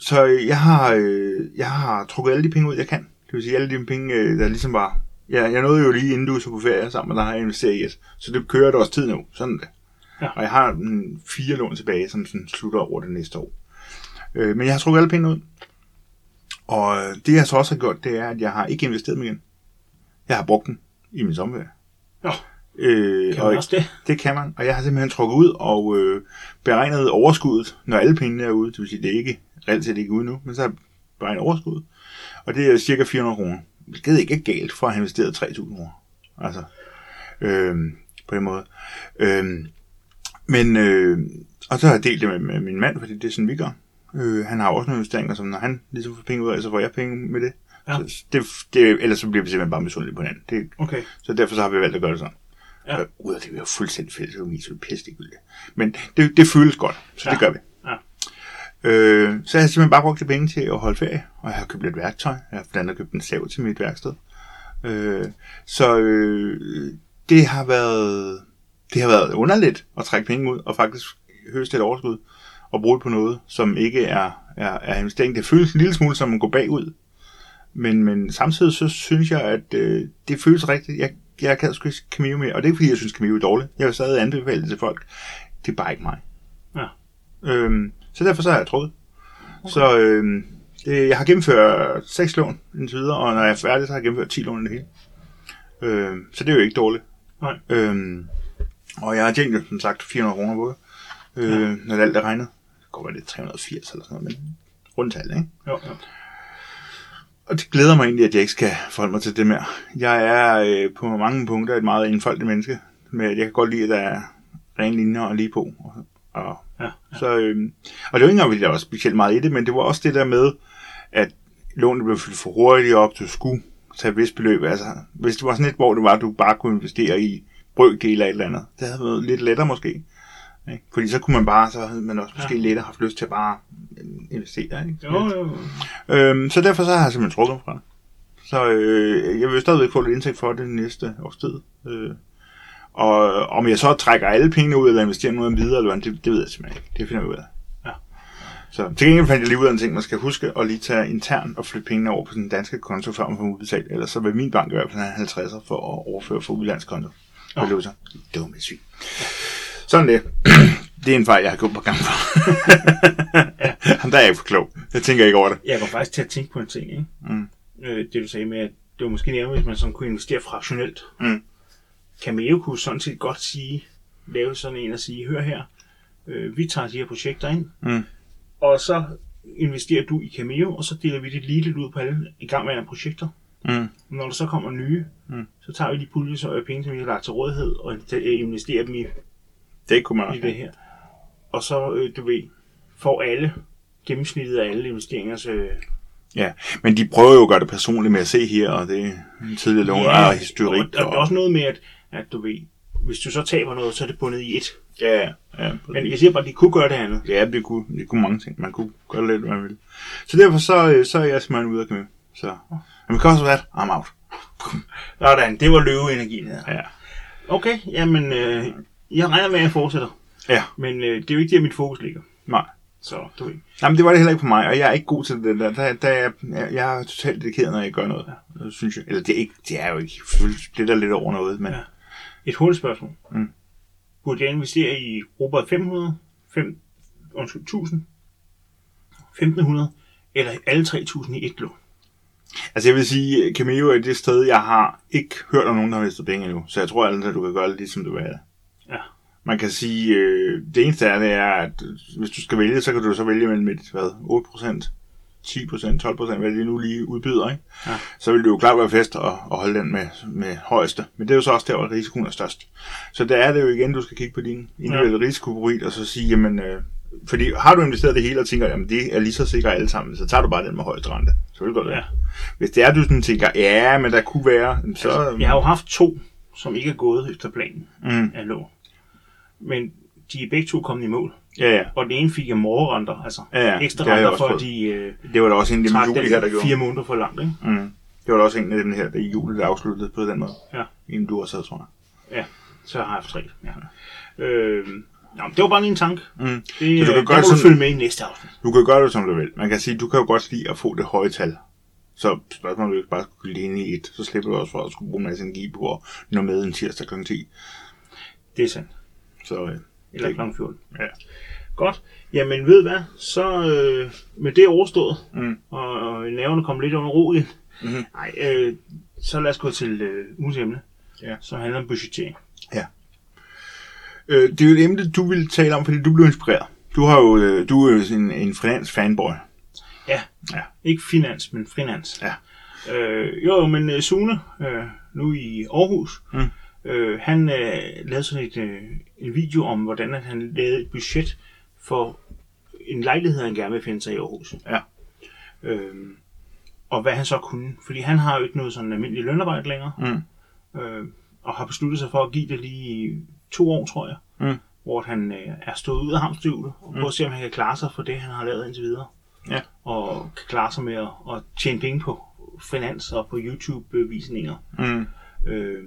Speaker 2: så jeg har, øh, jeg har trukket alle de penge ud, jeg kan. Det vil sige, alle de penge, øh, der ligesom var... Jeg, jeg nåede jo lige inden du så på ferie sammen med dig, har jeg investeret i et. Så det kører der også tid nu. Sådan er det.
Speaker 1: Ja.
Speaker 2: Ja. Og jeg har mm, fire lån tilbage, som sådan slutter over det næste år. Øh, men jeg har trukket alle penge ud. Og øh, det jeg så også har gjort, det er, at jeg har ikke investeret dem igen. Jeg har brugt dem i min sommerferie.
Speaker 1: Nå,
Speaker 2: Øh,
Speaker 1: kan man også det?
Speaker 2: det kan man, og jeg har simpelthen trukket ud og øh, beregnet overskuddet, når alle pengene er ude. Det vil sige, det er ikke, reelt set ikke ude nu, men så har jeg beregnet overskuddet. Og det er cirka 400 kroner. Det er ikke galt for at have investeret 3.000 kroner. Altså, øh, på den måde. Øh, men, øh, og så har jeg delt det med, med min mand, fordi det er sådan, vi gør. Øh, han har også nogle investeringer, som når han ligesom får penge ud af, så får jeg penge med det.
Speaker 1: Ja.
Speaker 2: Ja. Så det, det. Ellers så bliver vi simpelthen bare misundelige på hinanden. Det,
Speaker 1: Okay.
Speaker 2: så derfor så har vi valgt at gøre det sådan.
Speaker 1: Ja.
Speaker 2: Ja. Øh, ud af det, vi har fuldstændig fælles økonomi, så det er pisse ligegyldigt. Men det, det føles godt, så ja.
Speaker 1: Ja.
Speaker 2: det gør vi.
Speaker 1: Ja.
Speaker 2: Øh, så jeg har simpelthen bare brugt de penge til at holde ferie, og jeg har købt lidt værktøj. Jeg har blandt andet købt en sav til mit værksted. Øh, så øh, det har været det har været underligt at trække penge ud og faktisk høste et overskud og bruge det på noget, som ikke er, er, er investering. Det føles en lille smule som at gå bagud, men, men samtidig så synes jeg, at øh, det føles rigtigt. Jeg, jeg kan sgu ikke Camille mere, og det er ikke fordi, jeg synes Camille er dårlig. Jeg vil stadig anbefale det til folk. Det er bare ikke mig.
Speaker 1: Ja.
Speaker 2: Øhm, så derfor så har jeg troet. Okay. Så øhm, det, jeg har gennemført seks lån indtil videre, og når jeg er færdig, så har jeg gennemført 10 lån i det hele. Øhm, så det er jo ikke dårligt.
Speaker 1: Nej.
Speaker 2: Øhm, og jeg har tjent jo, som sagt 400 kroner på det, øh, ja. når alt er regnet. godt være det er 380 eller sådan noget, men rundtal, ikke?
Speaker 1: Jo, jo.
Speaker 2: Og det glæder mig egentlig, at jeg ikke skal forholde mig til det mere. Jeg er øh, på mange punkter et meget indfoldet menneske, men jeg kan godt lide, at der er rene linjer og lige på. Og, og,
Speaker 1: Ja,
Speaker 2: Så, øh, og det var ikke engang, fordi der var specielt meget i det, men det var også det der med, at lånet blev fyldt for hurtigt op, du skulle tage et vist beløb. Altså, hvis det var sådan et, hvor det var, at du bare kunne investere i brøkdele af et eller andet, det havde været lidt lettere måske. Ikke? Fordi så kunne man bare, så havde man også måske ja. lettere haft lyst til at bare øh, investere. Ikke?
Speaker 1: Jo, jo, jo.
Speaker 2: Øhm, så derfor så har jeg simpelthen trukket mig fra det. Så øh, jeg vil stadigvæk få lidt indtægt for det næste års tid. Øh, og om jeg så trækker alle pengene ud, eller investerer noget videre, eller hvad, det, det ved jeg simpelthen ikke. Det finder jeg ud af.
Speaker 1: Ja.
Speaker 2: Så til gengæld fandt jeg lige ud af en ting, man skal huske at lige tage internt og flytte pengene over på den danske konto, før man får dem udbetalt. Ellers så vil min bank i hvert fald have 50'er for at overføre fra udlandskonto.
Speaker 1: Nå.
Speaker 2: Og det så dumme svin. Sådan det. [CLEARS THROAT] det er en fejl, jeg har gjort på gang for. [LAUGHS] Jamen, der er jeg ikke for klog. Jeg tænker ikke over det.
Speaker 1: Jeg går faktisk til at tænke på en ting, ikke?
Speaker 2: Mm.
Speaker 1: Øh, det du sagde med, at det var måske nærmere, hvis man sådan kunne investere fraktionelt.
Speaker 2: Mm.
Speaker 1: Cameo kunne sådan set godt sige, lave sådan en og sige, hør her, øh, vi tager de her projekter ind,
Speaker 2: Mm.
Speaker 1: og så investerer du i Cameo, og så deler vi det ligeligt ud på alle igangværende projekter.
Speaker 2: Mm.
Speaker 1: Når der så kommer nye,
Speaker 2: Mm.
Speaker 1: så tager vi de puljer så øh, penge, som vi har lagt til rådighed, og øh, investerer dem i,
Speaker 2: Det kunne man
Speaker 1: i det her. Og så, øh, du ved, får alle gennemsnittet af alle investeringers øh,
Speaker 2: Ja, men de prøver jo at gøre det personligt med at se her, og det er en tidligere lån yeah. og historik.
Speaker 1: Og, og, og, også noget med, at, at du ved, hvis du så taber noget, så er det bundet i et.
Speaker 2: ja, ja,
Speaker 1: Men jeg siger bare, at de kunne gøre det andet.
Speaker 2: ja, det kunne, det kunne mange ting. Man kunne gøre lidt, hvad man ville. Så derfor så, øh, så er jeg simpelthen ude at kæmpe. Så. Men man kan også være, I'm out.
Speaker 1: [LAUGHS] Sådan, det var løveenergien her.
Speaker 2: Ja.
Speaker 1: Okay, jamen, øh, jeg regner med, at jeg fortsætter.
Speaker 2: Ja.
Speaker 1: Men øh, det er jo ikke der, mit fokus ligger.
Speaker 2: Nej.
Speaker 1: Så, du ved.
Speaker 2: Jamen, det var det heller ikke for mig, og jeg er ikke god til det der. der, der jeg, jeg, jeg er totalt dedikeret, når jeg gør noget, ja. synes jeg. Eller det er, ikke, det er jo ikke. Selvfølgelig splitter lidt over noget, men...
Speaker 1: Ja. Et hurtigt spørgsmål.
Speaker 2: Mm.
Speaker 1: Burde jeg investere i Robert 500, 5, undskyld, 1000, 1500 eller alle 3000 i et lån?
Speaker 2: Altså jeg vil sige, Cameo er det sted, jeg har ikke hørt om nogen, der har mistet penge endnu. Så jeg tror altid, at du kan gøre det, ligesom du vil have det.
Speaker 1: Ja.
Speaker 2: Man kan sige, øh, det eneste af det er, at hvis du skal vælge, så kan du så vælge mellem et, hvad, 8%, 10%, 12%, hvad det nu lige udbyder, ikke?
Speaker 1: Ja.
Speaker 2: Så vil det jo klart være fest at, at holde den med, med højeste. Men det er jo så også der, hvor risikoen er størst. Så der er det jo igen, du skal kigge på din individuelle ja. risikoprofil, og så sige, jamen, øh, fordi har du investeret det hele og tænker, jamen det er lige så sikkert alle sammen, så tager du bare den med højeste rente. Så vil det godt være.
Speaker 1: Ja.
Speaker 2: Ja. Hvis det er, du sådan tænker, ja, men der kunne være, så...
Speaker 1: Altså, jeg har jo haft to, som ikke er gået efter planen
Speaker 2: Mm.
Speaker 1: af lån. Men de er begge to kommet i mål.
Speaker 2: Ja, ja.
Speaker 1: Og den ene fik jeg morgerenter, altså
Speaker 2: Ja, ja,
Speaker 1: ekstra
Speaker 2: det har jeg
Speaker 1: renter,
Speaker 2: også
Speaker 1: for at
Speaker 2: fået.
Speaker 1: de øh,
Speaker 2: Det var da også en af
Speaker 1: trak
Speaker 2: dem juli her, der
Speaker 1: den
Speaker 2: gjorde.
Speaker 1: fire måneder for langt. Ikke?
Speaker 2: Mm. Det var da også en af dem her, der i juli, der afsluttede på den måde.
Speaker 1: Ja.
Speaker 2: En du også havde, tror jeg.
Speaker 1: Så har jeg haft tre. Ja. Øh, nå, men det var bare lige en tanke.
Speaker 2: Mm.
Speaker 1: Det,
Speaker 2: Så
Speaker 1: øh,
Speaker 2: du kan
Speaker 1: der
Speaker 2: gøre
Speaker 1: må
Speaker 2: sådan-
Speaker 1: du følge med i næste aften.
Speaker 2: Du kan gøre det, som du vil. Man kan sige, du kan jo godt lide at få det høje tal. Så spørgsmålet er, om du ikke bare skulle ligne i et. Så slipper du også for at skulle bruge en masse energi på at nå med en tirsdag kl. 10.
Speaker 1: Det er sandt.
Speaker 2: Så øh,
Speaker 1: Eller
Speaker 2: det,
Speaker 1: kl. 14.
Speaker 2: Ja.
Speaker 1: Godt. Jamen, ved I hvad? Så øh, med det overstået,
Speaker 2: Mm.
Speaker 1: og, og nerverne kom lidt under ro igen,
Speaker 2: Mhm.
Speaker 1: Nej, øh, så lad os gå til øh, ugens emne,
Speaker 2: Ja.
Speaker 1: som handler om budgettering.
Speaker 2: øh, det er jo et emne, du ville tale om, fordi du blev inspireret. Du, har jo, øh, du er jo sådan en, en finans-fanboy.
Speaker 1: Ikke finans, men finans.
Speaker 2: Ja.
Speaker 1: Øh, jo, jo, men øh, Sune, øh, nu i Aarhus,
Speaker 2: Mm.
Speaker 1: øh, han øh, lavede sådan et, øh, en video om, hvordan at han lavede et budget for en lejlighed, han gerne vil finde sig i Aarhus.
Speaker 2: Ja.
Speaker 1: Øh, og hvad han så kunne. Fordi han har jo ikke noget sådan almindeligt lønarbejde længere.
Speaker 2: Mm.
Speaker 1: øh, og har besluttet sig for at give det lige i to år, tror jeg.
Speaker 2: Mm.
Speaker 1: Hvor han øh, er stået ud af hamsterhjulet og prøver at se, om han kan klare sig for det, han har lavet indtil videre.
Speaker 2: Ja.
Speaker 1: Og
Speaker 2: Mm.
Speaker 1: kan klare sig med at, at tjene penge på finans og på YouTube-visninger
Speaker 2: Mm.
Speaker 1: øh,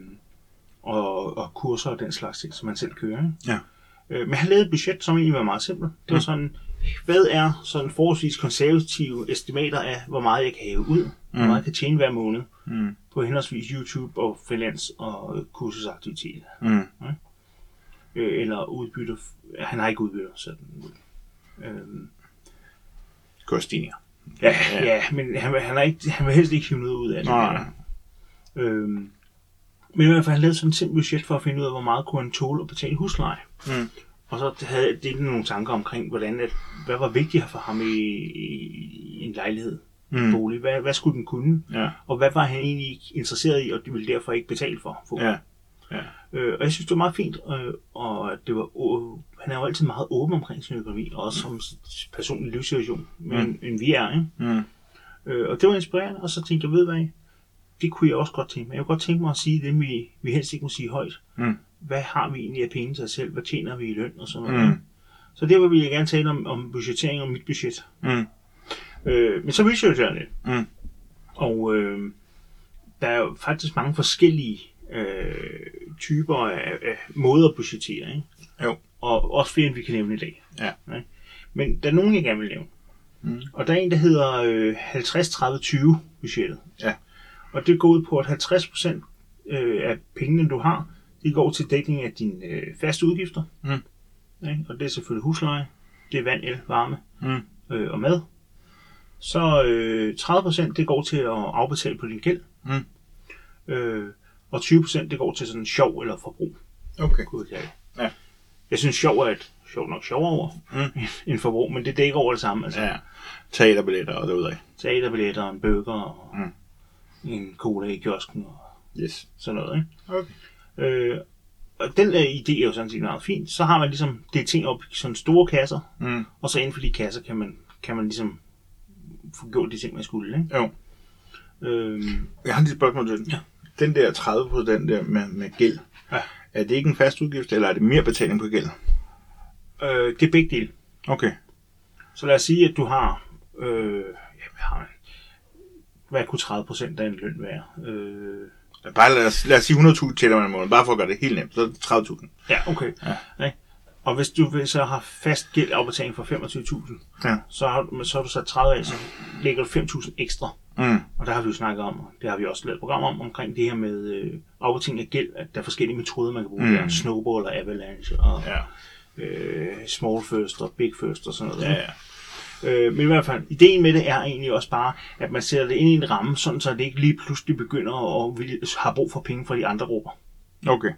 Speaker 1: og, og kurser og den slags ting, som han selv kører. Ikke?
Speaker 2: Ja.
Speaker 1: Øh, men han lavede et budget, som egentlig var meget simpelt. Det var
Speaker 2: Mm.
Speaker 1: sådan, hvad er sådan forholdsvis konservative estimater af, hvor meget jeg kan have ud, hvor
Speaker 2: Mm.
Speaker 1: meget jeg kan tjene hver måned
Speaker 2: Mm.
Speaker 1: på henholdsvis YouTube og finans og øh, kursusaktiviteter.
Speaker 2: Mm.
Speaker 1: Øh, eller udbytte. Han har ikke udbytter, sådan. Øhm,
Speaker 2: Kørstigninger.
Speaker 1: ja, ja, ja, men han, han, er ikke, han vil helst ikke hive noget ud af det.
Speaker 2: Nej.
Speaker 1: Øhm, men i hvert fald, han lavede sådan et simpelt budget for at finde ud af, hvor meget kunne han tåle at betale husleje.
Speaker 2: Mm.
Speaker 1: Og så havde det nogle tanker omkring, hvordan at, hvad var vigtigt for ham i, i en lejlighed, mm. en bolig. Hvad, hvad skulle den kunne?
Speaker 2: Ja.
Speaker 1: Og hvad var han egentlig ikke interesseret i, og det ville derfor ikke betale for? for.
Speaker 2: Ja. Ja.
Speaker 1: Øh, og jeg synes, det var meget fint, øh, og at det var, å- han er jo altid meget åben omkring sin økonomi, og også som s- personlig livssituation, men, mm. end vi er. Ikke?
Speaker 2: Mm.
Speaker 1: Øh, og det var inspirerende, og så tænkte jeg, ved du hvad, det kunne jeg også godt tænke mig. Jeg kunne godt tænke mig at sige det, vi, vi helst ikke må sige højt.
Speaker 2: Mm.
Speaker 1: Hvad har vi egentlig af penge til os selv? Hvad tjener vi i løn og sådan noget?
Speaker 2: Mm.
Speaker 1: Så derfor vil jeg gerne tale om, om budgettering og mit budget.
Speaker 2: Mm.
Speaker 1: Øh, men så researcher jeg lidt.
Speaker 2: Mm.
Speaker 1: Og øh, der er jo faktisk mange forskellige øh, typer af, af måder at budgettere. Ikke?
Speaker 2: Jo.
Speaker 1: Og også flere, end vi kan nævne i dag.
Speaker 2: Ja.
Speaker 1: Ikke? Men der er nogen, jeg gerne vil nævne.
Speaker 2: Mm.
Speaker 1: Og der er en, der hedder øh, 50-30-20 budgettet.
Speaker 2: Ja.
Speaker 1: Og det går ud på, at 50% øh, af pengene, du har, det går til dækning af dine øh, faste udgifter.
Speaker 2: Mm.
Speaker 1: Ikke? Og det er selvfølgelig husleje, det er vand, el, varme
Speaker 2: Mm.
Speaker 1: øh, og mad. Så øh, 30% det går til at afbetale på din gæld.
Speaker 2: Mm.
Speaker 1: Øh, og 20% det går til sådan sjov eller forbrug.
Speaker 2: Okay.
Speaker 1: Kunne jeg kalde det.
Speaker 2: Ja.
Speaker 1: Jeg synes sjov er et sjovt nok sjovere ord [LAUGHS]
Speaker 2: Mm.
Speaker 1: end forbrug, men det dækker over det samme. Altså
Speaker 2: Ja. Teaterbilletter og derudad.
Speaker 1: teaterbilletter, en burger og
Speaker 2: Mm.
Speaker 1: en cola i kiosken og
Speaker 2: Yes.
Speaker 1: sådan noget. Ikke?
Speaker 2: Okay.
Speaker 1: Øh, og den der idé er jo sådan set meget fin. Så har man ligesom det ting op i sådan store kasser,
Speaker 2: Mm.
Speaker 1: og så inden for de kasser kan man, kan man ligesom få gjort de ting, man skulle. Ikke?
Speaker 2: Jo.
Speaker 1: Øhm,
Speaker 2: Jeg har lige et spørgsmål til den.
Speaker 1: Ja.
Speaker 2: Den der 30 procent der med, med gæld.
Speaker 1: Ja.
Speaker 2: Er det ikke en fast udgift, eller er det mere betaling på gæld?
Speaker 1: øh, det er begge dele.
Speaker 2: Okay.
Speaker 1: Så lad os sige, at du har, øh, ja, hvad har man? Hvad kunne 30% af en løn være? Øh,
Speaker 2: Bare lad os, lad os sige 100.000 tjener man om måneden, bare for at gøre det helt nemt. Så er det 30.000.
Speaker 1: ja, okay. Ja. Ikke? Og hvis du vil så har fast gældafbetaling for 25.000,
Speaker 2: Ja.
Speaker 1: så har, du- så har du sat 30 af, så lægger du 5.000 ekstra.
Speaker 2: Mm.
Speaker 1: Og der har vi jo snakket om, og det har vi også lavet et program om, omkring det her med øh, afbetaling af gæld, at der er forskellige metoder, man kan bruge.
Speaker 2: Mm.
Speaker 1: Mm. Snowball og avalanche og
Speaker 2: Ja.
Speaker 1: øh, small first og big first og sådan noget.
Speaker 2: Ja,
Speaker 1: ikke?
Speaker 2: ja.
Speaker 1: Øh, men i hvert fald, ideen med det er egentlig også bare, at man sætter det ind i en ramme, sådan så det ikke lige pludselig begynder at vil, have brug for penge fra de andre grupper.
Speaker 2: Okay.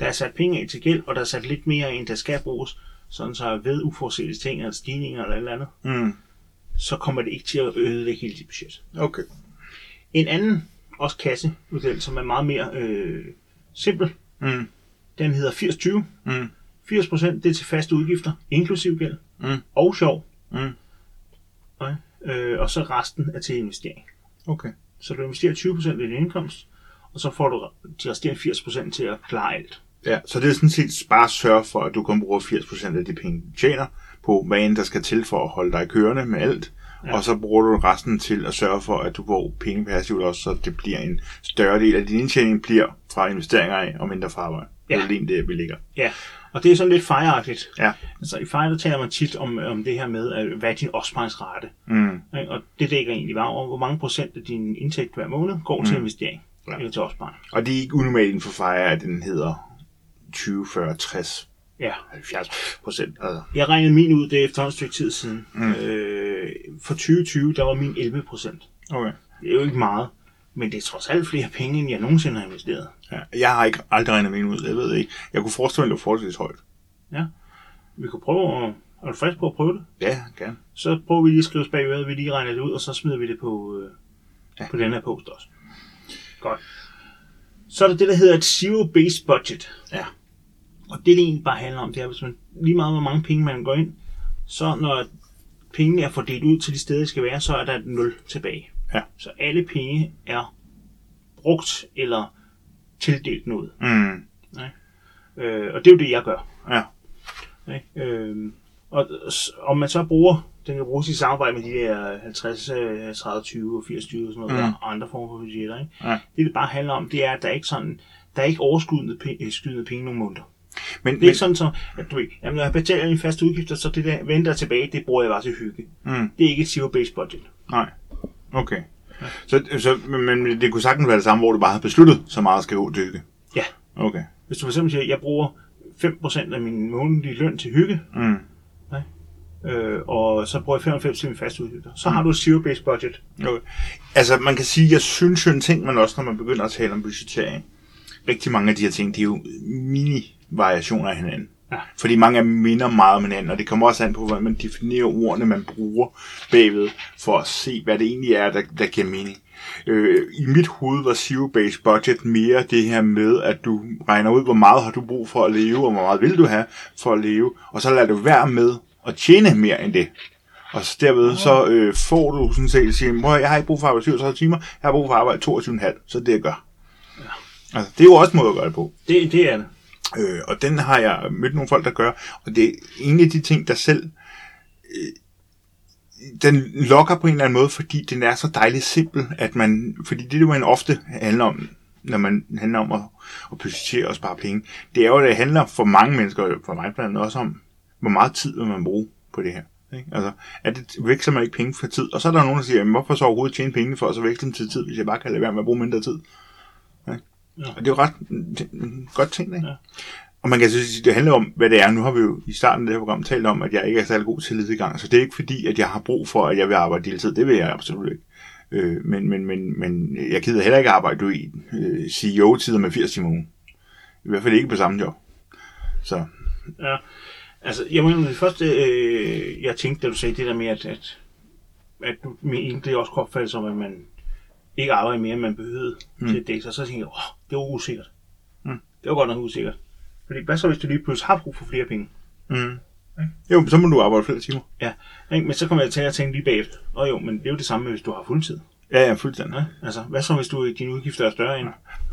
Speaker 1: Der er sat penge af til gæld, og der er sat lidt mere, end der skal bruges, sådan så ved uforudsete ting eller stigninger eller et eller andet,
Speaker 2: Mm.
Speaker 1: så kommer det ikke til at ødelægge hele dit budget.
Speaker 2: Okay.
Speaker 1: En anden, også kassemodel, som er meget mere øh, simpel,
Speaker 2: Mm.
Speaker 1: den hedder 80-20.
Speaker 2: Mm.
Speaker 1: 80% det er til faste udgifter, inklusiv gæld,
Speaker 2: Mm.
Speaker 1: og sjov.
Speaker 2: Mm.
Speaker 1: Okay. Øh, og så resten er til investering.
Speaker 2: Okay.
Speaker 1: Så du investerer 20% af din indkomst, og så får du de resterende 80% til at klare alt.
Speaker 2: Ja, så det er sådan set bare at sørge for, at du kun bruger 80% af de penge, du tjener på, hvad end der skal til for at holde dig kørende med alt. Ja. Og så bruger du resten til at sørge for, at du får penge passivt også, så det bliver en større del af din indtjening bliver fra investeringer af og mindre fra arbejde.
Speaker 1: Ja.
Speaker 2: Ja. Det er lige det, vi ligger.
Speaker 1: Ja, og det er sådan lidt fejragtigt.
Speaker 2: Ja.
Speaker 1: Altså i fejl, der taler man tit om, om det her med, at, hvad er din opsparingsrate?
Speaker 2: Mm.
Speaker 1: Ikke? Og det dækker egentlig bare over, hvor mange procent af din indtægt hver måned går til investering
Speaker 2: Mm. Ja.
Speaker 1: eller til opsparing.
Speaker 2: Og det er ikke unormalt inden for fejre, at den hedder 20, 40, 60,
Speaker 1: Ja.
Speaker 2: 70 procent. Altså.
Speaker 1: Jeg regnede min ud, det er efterhånden et stykke tid siden. Mm. Øh, for 2020, der var min 11 procent.
Speaker 2: Okay.
Speaker 1: Det er jo ikke meget, men det er trods alt flere penge, end jeg nogensinde har investeret.
Speaker 2: Ja. Jeg har ikke aldrig regnet min ud, jeg ved ikke. Jeg kunne forestille mig, at det var forholdsvis højt.
Speaker 1: Vi kunne prøve at... Er du frisk på at prøve det?
Speaker 2: Ja, gerne.
Speaker 1: så prøver vi lige at skrive os bag øret, vi lige regner det ud, og så smider vi det på, øh, ja. på den her post også. Godt. Så er der det, der hedder et zero-based budget.
Speaker 2: Ja.
Speaker 1: Og det, det egentlig bare handler om, det er, hvis man lige meget, hvor mange penge man går ind, så når pengene er fordelt ud til de steder, de skal være, så er der et nul tilbage.
Speaker 2: Ja.
Speaker 1: Så alle penge er brugt eller tildelt noget.
Speaker 2: Mm.
Speaker 1: Øh, og det er jo det, jeg gør.
Speaker 2: Ja.
Speaker 1: Ikke? Øhm, og s- om man så bruger, den kan bruges i samarbejde med de der 50, øh, 30, 20 og 80, 20 og sådan noget,
Speaker 2: Mm.
Speaker 1: mm. og andre former for budgetter. Ikke?
Speaker 2: Ja.
Speaker 1: Det, det bare handler om, det er, at der er ikke sådan, der er ikke overskydende pe- øh, skydende penge nogle måneder.
Speaker 2: Men,
Speaker 1: Det er
Speaker 2: men,
Speaker 1: ikke sådan, så, at du ved, jamen, når jeg betaler mine faste udgifter, så det der venter tilbage, det bruger jeg bare til hygge.
Speaker 2: Mm.
Speaker 1: Det er ikke et zero-based budget.
Speaker 2: Nej. Okay. Så, så, men, men det kunne sagtens være det samme, hvor du bare havde besluttet, så meget skal gå til hygge.
Speaker 1: Ja.
Speaker 2: Okay.
Speaker 1: Hvis du for eksempel siger, at jeg bruger 5% af min månedlige løn til hygge,
Speaker 2: Mm.
Speaker 1: øh, og så bruger jeg 95 til mine faste udgifter,
Speaker 2: Mm.
Speaker 1: så har du et zero-based budget.
Speaker 2: okay. Altså, man kan sige, jeg synes jo en ting, man også, når man begynder at tale om budgettering, rigtig mange af de her ting, det er jo mini-variationer af hinanden. Ja. Fordi mange af dem minder meget om hinanden, og det kommer også an på, hvordan man definerer ordene, man bruger bagved, for at se, hvad det egentlig er, der, der giver mening. Øh, I mit hoved var zero-based budget mere det her med, at du regner ud, hvor meget har du brug for at leve, og hvor meget vil du have for at leve, og så lader du være med at tjene mere end det. Og så derved så øh, får du sådan set, siger, "Prøv at høre, jeg har ikke brug for at arbejde 37 timer, jeg har brug for at arbejde 22,5, så det er det, jeg gør. Ja. Altså, det er jo også en måde at gøre det på.
Speaker 1: Det, det er det.
Speaker 2: Øh, og den har jeg mødt nogle folk, der gør, og det er en af de ting, der selv, øh, den lokker på en eller anden måde, fordi den er så dejligt simpel, at man, fordi det, det man ofte handler om, når man handler om at, at budgettere og spare penge, det er jo, at det handler for mange mennesker, og for mig blandt andet også om, hvor meget tid vil man bruge på det her. Ikke? Altså, at det veksler man ikke penge for tid. Og så er der nogen, der siger, jamen, hvorfor så overhovedet tjene penge for at så veksle dem til tid, hvis jeg bare kan lade være med at bruge mindre tid? Og det er jo ret det er en godt ting, ikke? Ja. Og man kan så sige, det handler om, hvad det er. Nu har vi jo i starten af det her program talt om, at jeg ikke er særlig god til ledegang, så det er ikke fordi, at jeg har brug for, at jeg vil arbejde deltid. Det vil jeg absolut ikke. Øh, men, men, men, men jeg gider heller ikke arbejde i øh, CEO-tider med 80 timer om ugen. I hvert fald ikke på samme job. Så
Speaker 1: Ja. Altså, jeg mener, det første, øh, jeg tænkte, da du sagde det der med, at, at, at du egentlig også kunne opfatte som, at man ikke arbejder mere, end man behøvede mm. til at dække sig, så tænkte jeg, åh, det var usikkert.
Speaker 2: Mm.
Speaker 1: Det var godt nok usikkert. Fordi hvad så, hvis du lige pludselig har brug for flere penge?
Speaker 2: mm. jo, så må du arbejde flere timer.
Speaker 1: Ja, ikke? men så kommer jeg til at tænke lige bagefter, og jo, men det er jo det samme, hvis du har fuldtid.
Speaker 2: Ja, ja, fuldstændig.
Speaker 1: Ja? Altså, hvad så, hvis du, dine udgifter er større end...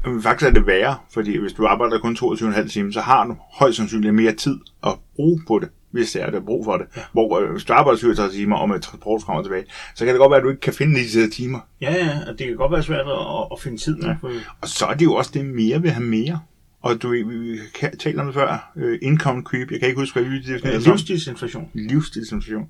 Speaker 2: Men faktisk er det værre, fordi hvis du arbejder kun 22,5 timer, så har du højst sandsynligt mere tid at bruge på det, hvis det er, der er brug for det. Ja. Hvor øh, hvis du arbejder 37 timer og med transport frem og tilbage, så kan det godt være, at du ikke kan finde lige de der timer.
Speaker 1: Ja, ja, og det kan godt være svært at, at finde tid. Ja.
Speaker 2: Og så er det jo også det, mere vil have mere. Og du, vi- vi kan- talte om det før, øh, income creep, jeg kan ikke huske, hvad vi definerede det som.
Speaker 1: Livsstilsinflation.
Speaker 2: Livsstilsinflation.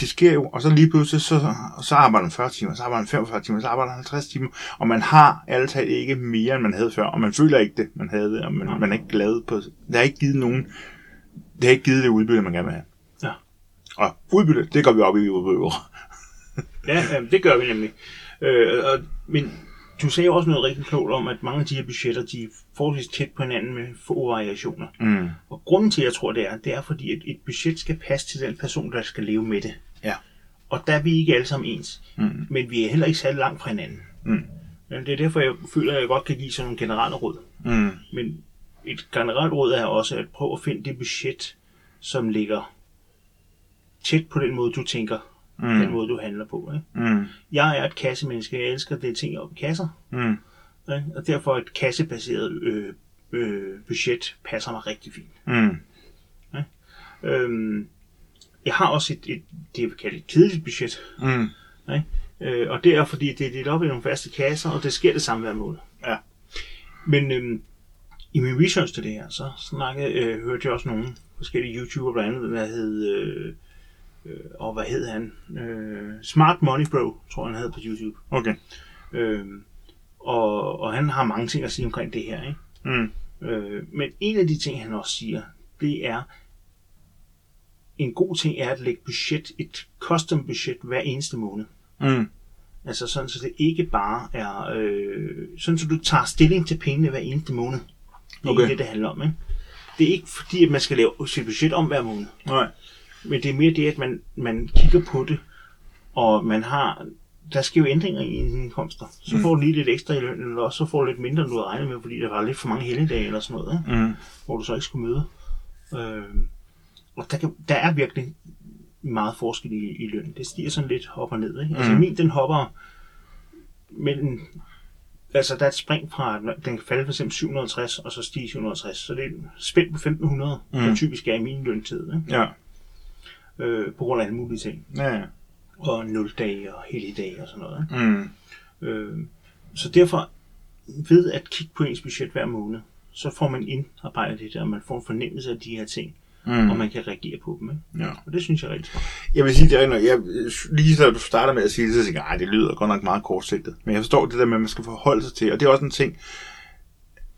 Speaker 2: Det sker jo, og så lige pludselig, så, så arbejder man 40 timer, så arbejder man 45 timer, så arbejder man 50 timer, og man har alt talt ikke mere, end man havde før, og man føler ikke det, man havde, og man, man er ikke glad på, det har ikke givet nogen, det har ikke givet det udbytte, man gerne vil have.
Speaker 1: Ja.
Speaker 2: Og udbytte, det går vi op i, vi udbyder.
Speaker 1: Ja, ja, det gør vi nemlig. Øh, og, men du sagde jo også noget rigtig klogt om, at mange af de her budgetter, de er forholdsvis tæt på hinanden med få variationer.
Speaker 2: Mm.
Speaker 1: Og grunden til, at jeg tror, det er, det er fordi, at et budget skal passe til den person, der skal leve med det.
Speaker 2: Ja.
Speaker 1: Og der er vi ikke alle sammen ens. Mm. Men vi er heller ikke særlig langt fra hinanden.
Speaker 2: Mm.
Speaker 1: Men det er derfor, jeg føler, at jeg godt kan give sådan nogle generelle råd.
Speaker 2: Mm.
Speaker 1: Men et generelt råd er også at prøve at finde det budget, som ligger tæt på den måde, du tænker, mm. den måde, du handler på. Ikke?
Speaker 2: Mm.
Speaker 1: Jeg er et kassemenneske, jeg elsker det ting om kasser,
Speaker 2: Mm.
Speaker 1: ikke? og derfor et kassebaseret øh, øh, budget passer mig rigtig fint.
Speaker 2: Mm.
Speaker 1: Øhm, jeg har også et, et det jeg vil kalde et kedeligt budget,
Speaker 2: Mm.
Speaker 1: ikke? Øh, og det er fordi, det er delt op i nogle faste kasser, og det sker det samme hver måned.
Speaker 2: Ja.
Speaker 1: Men øhm, i min research til det her, så snakkede, øh, hørte jeg også nogle forskellige YouTuber, blandt andet, der hed, øh, øh, og hvad hed han? Øh, Smart Money Bro, tror jeg, han havde på YouTube.
Speaker 2: Okay.
Speaker 1: Øh, og, og han har mange ting at sige omkring det her. Ikke?
Speaker 2: Mm.
Speaker 1: Øh, men en af de ting, han også siger, det er, en god ting er at lægge budget, et custom budget hver eneste måned.
Speaker 2: Mm.
Speaker 1: Altså sådan, så det ikke bare er... Øh, sådan, så du tager stilling til pengene hver eneste måned. Det er
Speaker 2: Okay.
Speaker 1: okay. det, det handler om. Ikke? Det er ikke fordi, at man skal lave sit budget om hver måned.
Speaker 2: Nej.
Speaker 1: Men det er mere det, at man, man kigger på det, og man har... Der sker jo ændringer i ens indkomster. Så får du lige lidt ekstra i løn, eller også så får du lidt mindre, end du havde regnet med, fordi der var lidt for mange helligdage eller sådan noget, ikke?
Speaker 2: Mm.
Speaker 1: hvor du så ikke skulle møde. Øh, og der, kan, der er virkelig meget forskel i, i løn. Det stiger sådan lidt op og ned. Ikke? Altså
Speaker 2: Mm.
Speaker 1: min, den hopper mellem... Altså, der er et spring fra, at den kan falde for eksempel 760, og så stige 760. Så det er et spænd på 1500, mm. der
Speaker 2: Mm.
Speaker 1: typisk er i min løntid. Ikke?
Speaker 2: Ja.
Speaker 1: øh, på grund af alle mulige ting.
Speaker 2: Ja. ja.
Speaker 1: Og 0 dage og hele dage og sådan noget.
Speaker 2: Mm.
Speaker 1: ikke? Øh, så derfor, ved at kigge på ens budget hver måned, så får man indarbejdet det der, og man får en fornemmelse af de her ting, mm. og man kan reagere på dem. Ikke?
Speaker 2: Ja.
Speaker 1: Og det synes jeg er rigtig godt.
Speaker 2: Jeg vil sige, det er rigtigt nok. jeg, lige så du starter med at sige det, så tænker jeg, "Ej, det lyder godt nok meget kortsigtet. Men jeg forstår det der med, at man skal forholde sig til, og det er også en ting,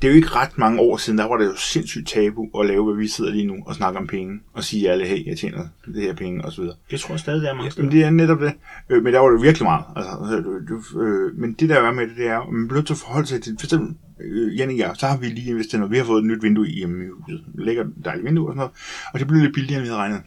Speaker 2: det er jo ikke ret mange år siden, der var det jo sindssygt tabu at lave, hvad vi sidder lige nu og snakke om penge, og sige alle, hey, jeg tjener det her penge, osv.
Speaker 1: Det tror jeg stadig, der er mange steder.
Speaker 2: Jamen, det er netop det. Øh, men der var det virkelig meget. Altså, altså, du, du, øh, men det der er med det, det er, at man bliver nødt til at forholde sig til, for eksempel, øh, Jan og jeg, så har vi lige investeret noget. Vi har fået et nyt vindue i hjemme i huset. Lækkert dejligt vindue og sådan noget. Og det blev lidt billigere, end vi havde regnet.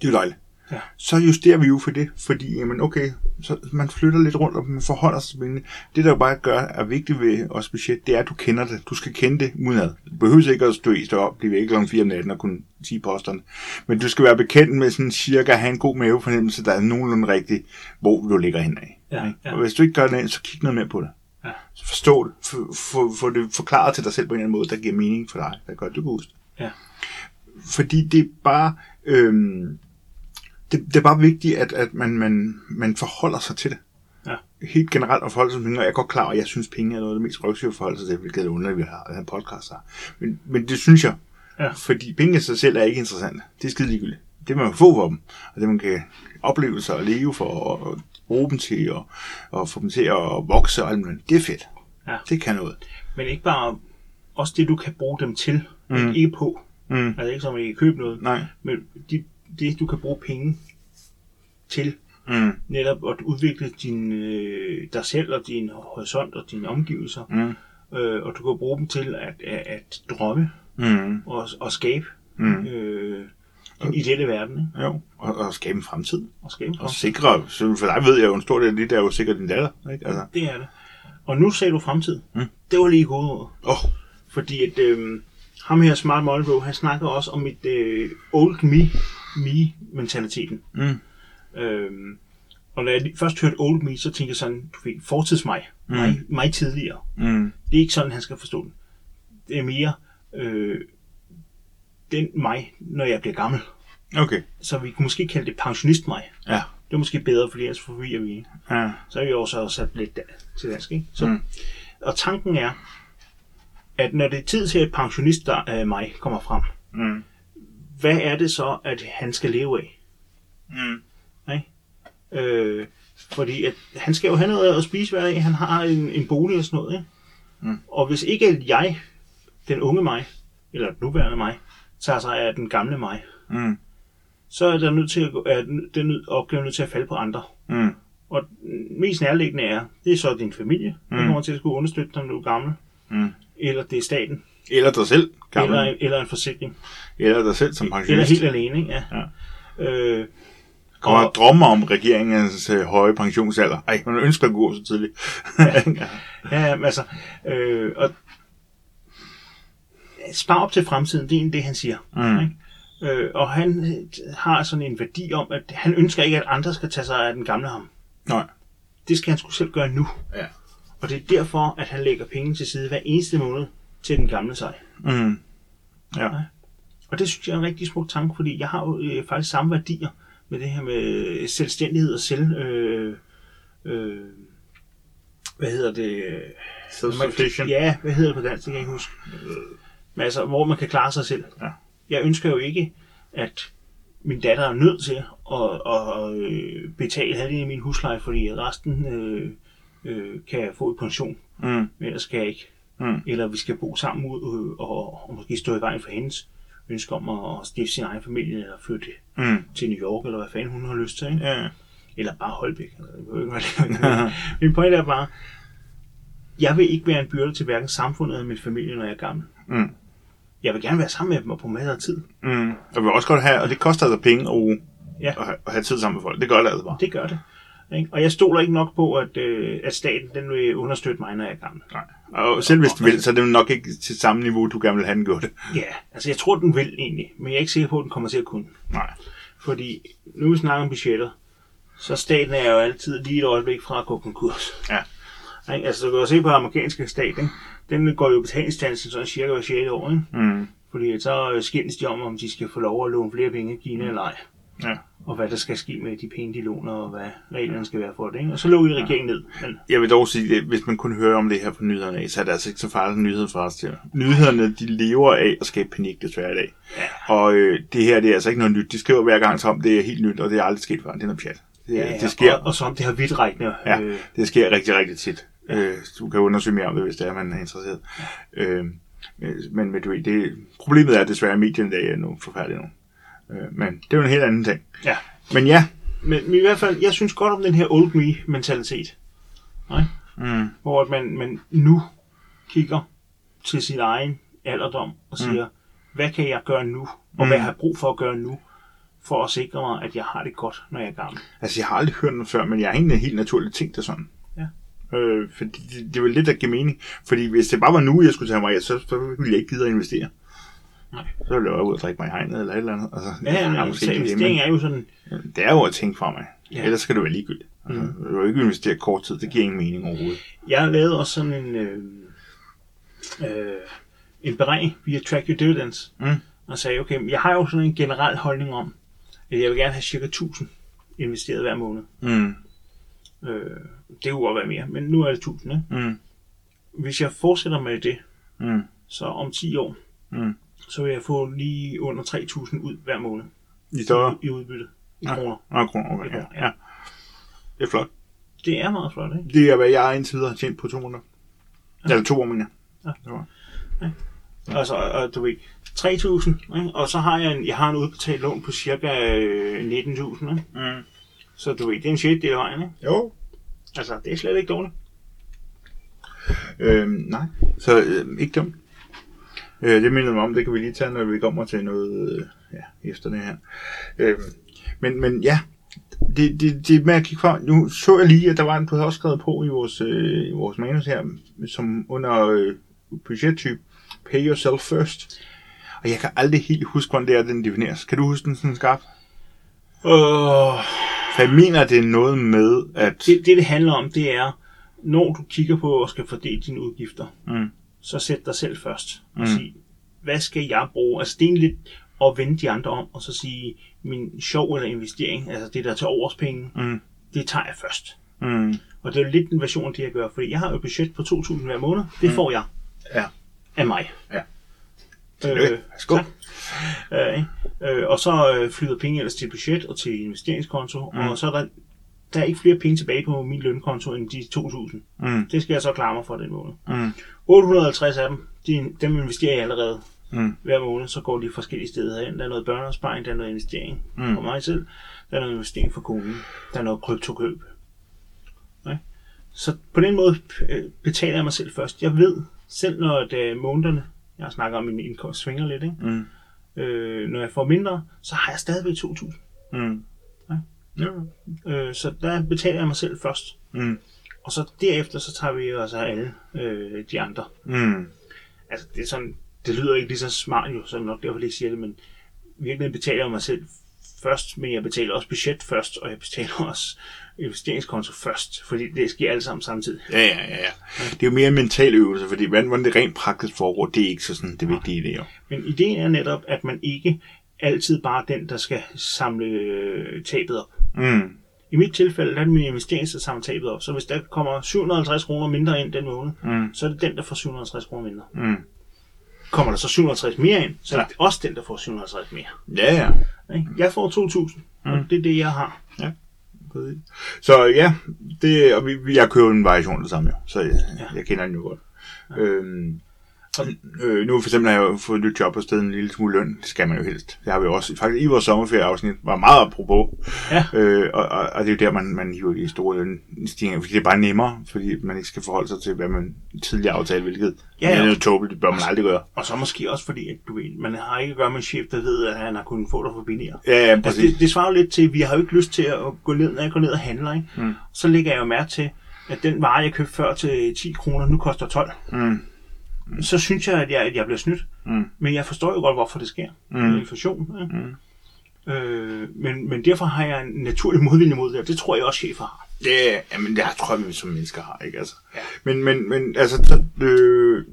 Speaker 2: Det er jo dejligt.
Speaker 1: Ja.
Speaker 2: Så justerer vi jo for det, fordi jamen, okay, så man flytter lidt rundt, og man forholder sig til pengene. Det, der jo bare gør, er vigtigt ved os budget, det er, at du kender det. Du skal kende det udenad. Du behøver ikke at stå i stå op, blive væk kl. 4 om natten og kunne sige posterne. Men du skal være bekendt med sådan cirka at have en god mavefornemmelse, der er nogenlunde rigtig, hvor du ligger henad.
Speaker 1: Ja,
Speaker 2: ikke?
Speaker 1: ja.
Speaker 2: Og hvis du ikke gør det, så kig noget mere på det.
Speaker 1: Ja.
Speaker 2: Så forstå det. Få for, for det forklaret til dig selv på en eller anden måde, der giver mening for dig. Der gør, at du kan huske det.
Speaker 1: Ja.
Speaker 2: Fordi det er bare... Øhm, det, det er bare vigtigt, at, at man, man, man forholder sig til det.
Speaker 1: Ja.
Speaker 2: Helt generelt at forholde sig til penge, og jeg er godt klar over, at jeg synes, penge er noget af det mest røvsyge at forholde sig til, hvilket er underligt, at vi har den podcast her. Men, men det synes jeg,
Speaker 1: Ja.
Speaker 2: fordi penge i sig selv er ikke interessant. Det er skide ligegyldigt. Det man kan få for dem, og det man kan opleve sig og leve for, og, og bruge dem til, og, og få dem til at vokse og alt muligt, det er fedt.
Speaker 1: Ja.
Speaker 2: Det kan noget.
Speaker 1: Men ikke bare også det, du kan bruge dem til. Mm. Ikke på.
Speaker 2: Mm.
Speaker 1: Altså ikke som at I kan købe noget.
Speaker 2: Nej.
Speaker 1: Men de, det, du kan bruge penge til.
Speaker 2: Mm.
Speaker 1: Netop at udvikle din, øh, dig selv og din horisont og dine omgivelser.
Speaker 2: Mm.
Speaker 1: Øh, og du kan bruge dem til at, at, at drømme
Speaker 2: Mm.
Speaker 1: og, og skabe
Speaker 2: Mm.
Speaker 1: øh, din ideelle verden. Ikke?
Speaker 2: Jo, og, og skabe en fremtid.
Speaker 1: Og skabe
Speaker 2: Og
Speaker 1: for.
Speaker 2: sikre, så for dig ved jeg jo en stor del af det, der er jo sikkert din datter. Ikke? Altså,
Speaker 1: Det er det. Og nu sagde du fremtid.
Speaker 2: Mm.
Speaker 1: Det var lige kodeordet.
Speaker 2: åh, oh,
Speaker 1: Fordi at øh, ham her, Smart Monroe, han snakker også om et øh, old me, me-mentaliteten.
Speaker 2: Mm.
Speaker 1: Øh, og da jeg lige- først hørte old me, så tænkte jeg sådan, du fik fortids mig, mm. mig, mig tidligere.
Speaker 2: mm,
Speaker 1: Det er ikke sådan, han skal forstå den. Det er mere øh, den mig, når jeg bliver gammel.
Speaker 2: okay,
Speaker 1: Så vi kunne måske kalde det pensionist mig.
Speaker 2: ja,
Speaker 1: Det er måske bedre, fordi ellers forvirrer vi. ikke?
Speaker 2: ja,
Speaker 1: Så har vi også sat lidt da- til dansk. Ikke? Så,
Speaker 2: Mm.
Speaker 1: mm. Og tanken er, at når det er tid til, at pensionist der, øh, mig kommer frem,
Speaker 2: mm,
Speaker 1: hvad er det så, at han skal leve af?
Speaker 2: mm,
Speaker 1: Øh, fordi at han skal jo have noget at spise hver dag. Han har en, en bolig og sådan noget. Ikke?
Speaker 2: Mm.
Speaker 1: Og hvis ikke at jeg, den unge mig, eller den nuværende mig, tager sig af den gamle mig,
Speaker 2: mm,
Speaker 1: så er der nødt til at, gå- er den, den nød- opgave nødt til at falde på andre.
Speaker 2: mm,
Speaker 1: Og den mest nærliggende er, det er så din familie, mm. der kommer til at skulle understøtte dig, når du er gammel.
Speaker 2: mm.
Speaker 1: Eller det er staten,
Speaker 2: Eller dig selv, gammel.
Speaker 1: eller,
Speaker 2: Eller,
Speaker 1: eller en forsikring.
Speaker 2: eller dig selv som
Speaker 1: Eller
Speaker 2: pensionist.
Speaker 1: helt alene, ikke? Ja.
Speaker 2: Ja.
Speaker 1: Øh,
Speaker 2: Og
Speaker 1: og,
Speaker 2: at drømme om regeringens øh, høje pensionsalder. Ej, man ønsker at gå så tidligt. [LAUGHS] ja.
Speaker 1: ja, ja, altså, øh, og spar op til fremtiden, det er egentlig det, han siger.
Speaker 2: Mm.
Speaker 1: Ikke? Øh, og han øh, har sådan en værdi om, at han ønsker ikke, at andre skal tage sig af den gamle ham.
Speaker 2: Nej.
Speaker 1: Det skal han skulle selv gøre nu.
Speaker 2: Ja.
Speaker 1: Og det er derfor, at han lægger penge til side hver eneste måned til den gamle sig.
Speaker 2: Mm. Ja.
Speaker 1: Og det synes jeg er en rigtig smuk tanke, fordi jeg har jo øh, faktisk samme værdier med det her med selvstændighed og selv... Øh, øh, hvad hedder det?
Speaker 2: Self-sufficient.
Speaker 1: Ja, hvad hedder det på dansk? Det kan jeg ikke huske. Men altså, hvor man kan klare sig selv.
Speaker 2: Ja.
Speaker 1: Jeg ønsker jo ikke, at min datter er nødt til at, at, øh, betale halvdelen af min husleje, fordi resten øh, øh, kan jeg få i pension,
Speaker 2: Mm.
Speaker 1: men ellers kan jeg ikke.
Speaker 2: Mm.
Speaker 1: Eller vi skal bo sammen ud øh, og, og måske stå i vejen for hendes ønske om at stifte sin egen familie, eller flytte
Speaker 2: Mm.
Speaker 1: til New York, eller hvad fanden hun har lyst til. Ikke?
Speaker 2: Ja.
Speaker 1: Eller bare Holbæk. eller jeg ved ikke, hvad det
Speaker 2: [LAUGHS]
Speaker 1: er. Min pointe er bare, jeg vil ikke være en byrde til hverken samfundet eller min familie, når jeg er gammel.
Speaker 2: Mm.
Speaker 1: Jeg vil gerne være sammen med dem og på masser af tid.
Speaker 2: Mm. Og vil også godt have, og det koster altså penge at,
Speaker 1: Ja.
Speaker 2: at, have, at have tid sammen med folk. Det gør det altså bare.
Speaker 1: Det gør det. Ikke? Og jeg stoler ikke nok på, at, øh, at staten den vil understøtte mig, når jeg er
Speaker 2: [LAUGHS]
Speaker 1: gammel.
Speaker 2: Nej. Og selv hvis du vil, så er det jo nok ikke til samme niveau, du gerne vil have den gjort.
Speaker 1: Ja, altså jeg tror, den vil egentlig, men jeg er ikke sikker på, at den kommer til at kunne.
Speaker 2: Nej.
Speaker 1: Fordi nu vi snakker om budgetter, så staten er jo altid lige et øjeblik fra at gå konkurs.
Speaker 2: Ja.
Speaker 1: Ikke? Altså du kan jo se på den amerikanske stat, ikke? den går jo i betalingsstansen sådan cirka hver 6. år. Ikke?
Speaker 2: Mm.
Speaker 1: Fordi så øh, skændes de om, om de skal få lov at låne flere penge i Kina eller ej.
Speaker 2: Ja.
Speaker 1: Og hvad der skal ske med de penge, de låner, og hvad reglerne skal være for det. Ikke? Og så lukker de regeringen ned. Men,
Speaker 2: Jeg vil dog sige, at hvis man kun hører om det her på nyhederne af, så er det altså ikke så farligt en nyhed for os til. Nyhederne, de lever af at skabe panik desværre i dag. Ja. Og øh, det her, det er altså ikke noget nyt. De skriver hver gang som, det er helt nyt, og det er aldrig sket før. Det er noget pjat. Det, ja, det sker,
Speaker 1: Og, og som det her vidtrækkende.
Speaker 2: ja,
Speaker 1: Øh,
Speaker 2: det sker rigtig, rigtig tit. Øh, du kan undersøge mere om det, hvis det er, man er interesseret. Øh, men, men du ved, det, problemet er desværre, at medierne i dag er nu forfærdelige nu. Øh, men det er jo en helt anden ting.
Speaker 1: ja.
Speaker 2: Men ja,
Speaker 1: Men, men i hvert fald, jeg synes godt om den her old me-mentalitet. Nej?
Speaker 2: Mm.
Speaker 1: Hvor at man, man nu kigger til sin egen alderdom og siger, mm. hvad kan jeg gøre nu, og mm. hvad har jeg brug for at gøre nu, for at sikre mig, at jeg har det godt, når jeg er gammel.
Speaker 2: Altså, jeg har aldrig hørt den før, men jeg har egentlig helt naturligt tænkt det sådan. Øh, for det, det, det var lidt, der giver mening. Fordi hvis det bare var nu, jeg skulle tage mig af, så, så ville jeg ikke gide at investere.
Speaker 1: Nej.
Speaker 2: Så ville jeg bare ud og drikke mig i hegnet eller et eller andet. Altså,
Speaker 1: Ja, ja,
Speaker 2: jeg har
Speaker 1: men
Speaker 2: måske ikke det,
Speaker 1: investering
Speaker 2: men-
Speaker 1: er jo sådan,
Speaker 2: det er jo at tænke fremad.
Speaker 1: Ja.
Speaker 2: Ja. Ellers skal det være ligegyldigt. Altså, mm. Du kan jo ikke investere kort tid, det giver ingen mening overhovedet.
Speaker 1: Jeg lavede også sådan en, øh, øh, en beregning via Track Your Dividends,
Speaker 2: Mm.
Speaker 1: og sagde, okay, men jeg har jo sådan en generel holdning om, at jeg vil gerne have cirka 1000 investeret hver måned.
Speaker 2: Mm.
Speaker 1: Øh, det kunne godt være mere, men nu er det 1000, ikke?
Speaker 2: Mm.
Speaker 1: Hvis jeg fortsætter med det,
Speaker 2: Mm.
Speaker 1: så om 10 år,
Speaker 2: Mm.
Speaker 1: så vil jeg få lige under 3000 ud hver måned
Speaker 2: I dollar?
Speaker 1: i udbytte i
Speaker 2: Ja.
Speaker 1: kroner.
Speaker 2: Nå, kroner. Okay. Ja. ja. Det er flot.
Speaker 1: Det er meget flot, ikke?
Speaker 2: Det er, hvad jeg indtil videre har tjent på to måneder. Ja. Eller to år, mener jeg.
Speaker 1: Altså, og du ved, 3.000, ikke? og så har jeg en, jeg har en udbetalt lån på cirka øh, 19.000, ikke?
Speaker 2: Mm.
Speaker 1: så du ved, det er en shit del af vejen, ikke?
Speaker 2: Jo.
Speaker 1: Altså, det er slet ikke dårligt.
Speaker 2: Øhm, nej. Så øh, ikke dumt. Øh, det mindede mig om, det kan vi lige tage, når vi kommer til noget øh, ja, efter det her. Øh, men, men ja, det, det, det med at kigge frem. Nu så jeg lige, at der var en, du havde også skrevet på i vores, øh, i vores manus her, som under øh, budgettype, pay yourself first. Og jeg kan aldrig helt huske, hvordan det er, den defineres. Kan du huske den sådan skarpt?
Speaker 1: Øh,
Speaker 2: For jeg mener, det er noget med, at...
Speaker 1: det, det, det handler om, det er, når du kigger på og skal fordele dine udgifter,
Speaker 2: Mm.
Speaker 1: så sæt dig selv først og
Speaker 2: Mm.
Speaker 1: sig, hvad skal jeg bruge? Altså, det er en lidt at vende de andre om, og så sige, min sjov eller investering, altså det der til års penge,
Speaker 2: Mm.
Speaker 1: det tager jeg først.
Speaker 2: Mm.
Speaker 1: Og det er jo lidt en version af det, jeg gør, fordi jeg har jo et budget på 2.000 hver måned. Det får jeg
Speaker 2: Mm. Ja.
Speaker 1: af mig.
Speaker 2: Ja.
Speaker 1: Øh,
Speaker 2: Tillykke. Værsgo.
Speaker 1: tak. Øh, ikke? øh, og så øh, flyder penge ellers til budget og til investeringskonto, mm. og så er der, der er ikke flere penge tilbage på min lønkonto end de 2.000.
Speaker 2: Mm.
Speaker 1: Det skal jeg så klare mig for den måned.
Speaker 2: Mm.
Speaker 1: 850 af dem, de, dem investerer jeg allerede
Speaker 2: Mm.
Speaker 1: hver måned, så går de forskellige steder hen. Der er noget børneopsparing, der er noget investering mm.
Speaker 2: Mm.
Speaker 1: for mig selv, der er noget investering for konen, der er noget kryptokøb. Okay? Så på den måde øh, betaler jeg mig selv først. Jeg ved, selv når det, månederne, jeg snakker om, at min indkomst svinger lidt, ikke?
Speaker 2: Mm.
Speaker 1: Øh, når jeg får mindre, så har jeg stadigvæk 2.000.
Speaker 2: Mm. Ja.
Speaker 1: Øh, så der betaler jeg mig selv først.
Speaker 2: Mm.
Speaker 1: Og så derefter, så tager vi os af alle øh, de andre.
Speaker 2: Mm.
Speaker 1: altså det er sådan, det lyder ikke lige så smart jo, så er det nok derfor, jeg ikke siger det, men virkelig betaler jeg mig selv først, men jeg betaler også budget først, og jeg betaler [LAUGHS] også investeringskonto først, fordi det sker alt sammen samtidig.
Speaker 2: Ja, ja, ja, ja. Det er jo mere en mental øvelse, fordi hvordan hvordan det rent praktisk foregår, det er ikke så sådan det vigtige i det jo.
Speaker 1: Men ideen er netop, at man ikke altid bare er den, der skal samle øh, tabet op.
Speaker 2: Mm.
Speaker 1: I mit tilfælde der er det min investering, der samler tabet op, så hvis der kommer 750 kroner mindre ind den måned,
Speaker 2: Mm.
Speaker 1: så er det den, der får 750 kroner mindre.
Speaker 2: Mm.
Speaker 1: Kommer der så 750 mere ind, så er det også den, der får 750 mere.
Speaker 2: Ja, ja.
Speaker 1: Ikke?
Speaker 2: Mm.
Speaker 1: Jeg får 2.000, og det er det, jeg har.
Speaker 2: Præcis. Så ja, det, og vi, vi- jeg kører jo en variation af det samme jo, så jeg, ja. jeg kender den jo godt. Ja. Øhm,
Speaker 1: Og-
Speaker 2: øh, nu for eksempel har jeg jo fået et nyt job og stedet en lille smule løn. Det skal man jo helst. Det har vi jo også faktisk i vores sommerferieafsnit var meget apropos.
Speaker 1: Ja.
Speaker 2: Øh, og, og, og, det er jo der, man, man hiver de store lønstigninger, fordi det er bare nemmere, fordi man ikke skal forholde sig til, hvad man tidligere aftalte, hvilket
Speaker 1: Ja,
Speaker 2: ja,
Speaker 1: ja.
Speaker 2: ja. er noget tåbeligt, det bør man aldrig gøre.
Speaker 1: Og så måske også fordi, at du ved, man har ikke at gøre med en chef, der ved, at han har kunnet få dig for billigere.
Speaker 2: Ja, ja,
Speaker 1: Altså,
Speaker 2: præcis.
Speaker 1: det, det svarer jo lidt til, at vi har jo ikke lyst til at gå ned, når jeg går ned og handler. Ikke? Mm. Så lægger jeg jo mærke til, at den vare, jeg købte før til 10 kroner, nu koster 12.
Speaker 2: Mm.
Speaker 1: Så synes jeg, at jeg, at jeg bliver snydt.
Speaker 2: Mm.
Speaker 1: Men jeg forstår jo godt, hvorfor det sker. Mm. Det er inflation. Ikke? Mm. Øh, men, men derfor har jeg en naturlig modvilje mod det, og det tror jeg også, chefer har.
Speaker 2: Ja, yeah, men det tror jeg, vi som mennesker har, ikke? Altså. Ja. Men, men, men, altså, så, øh,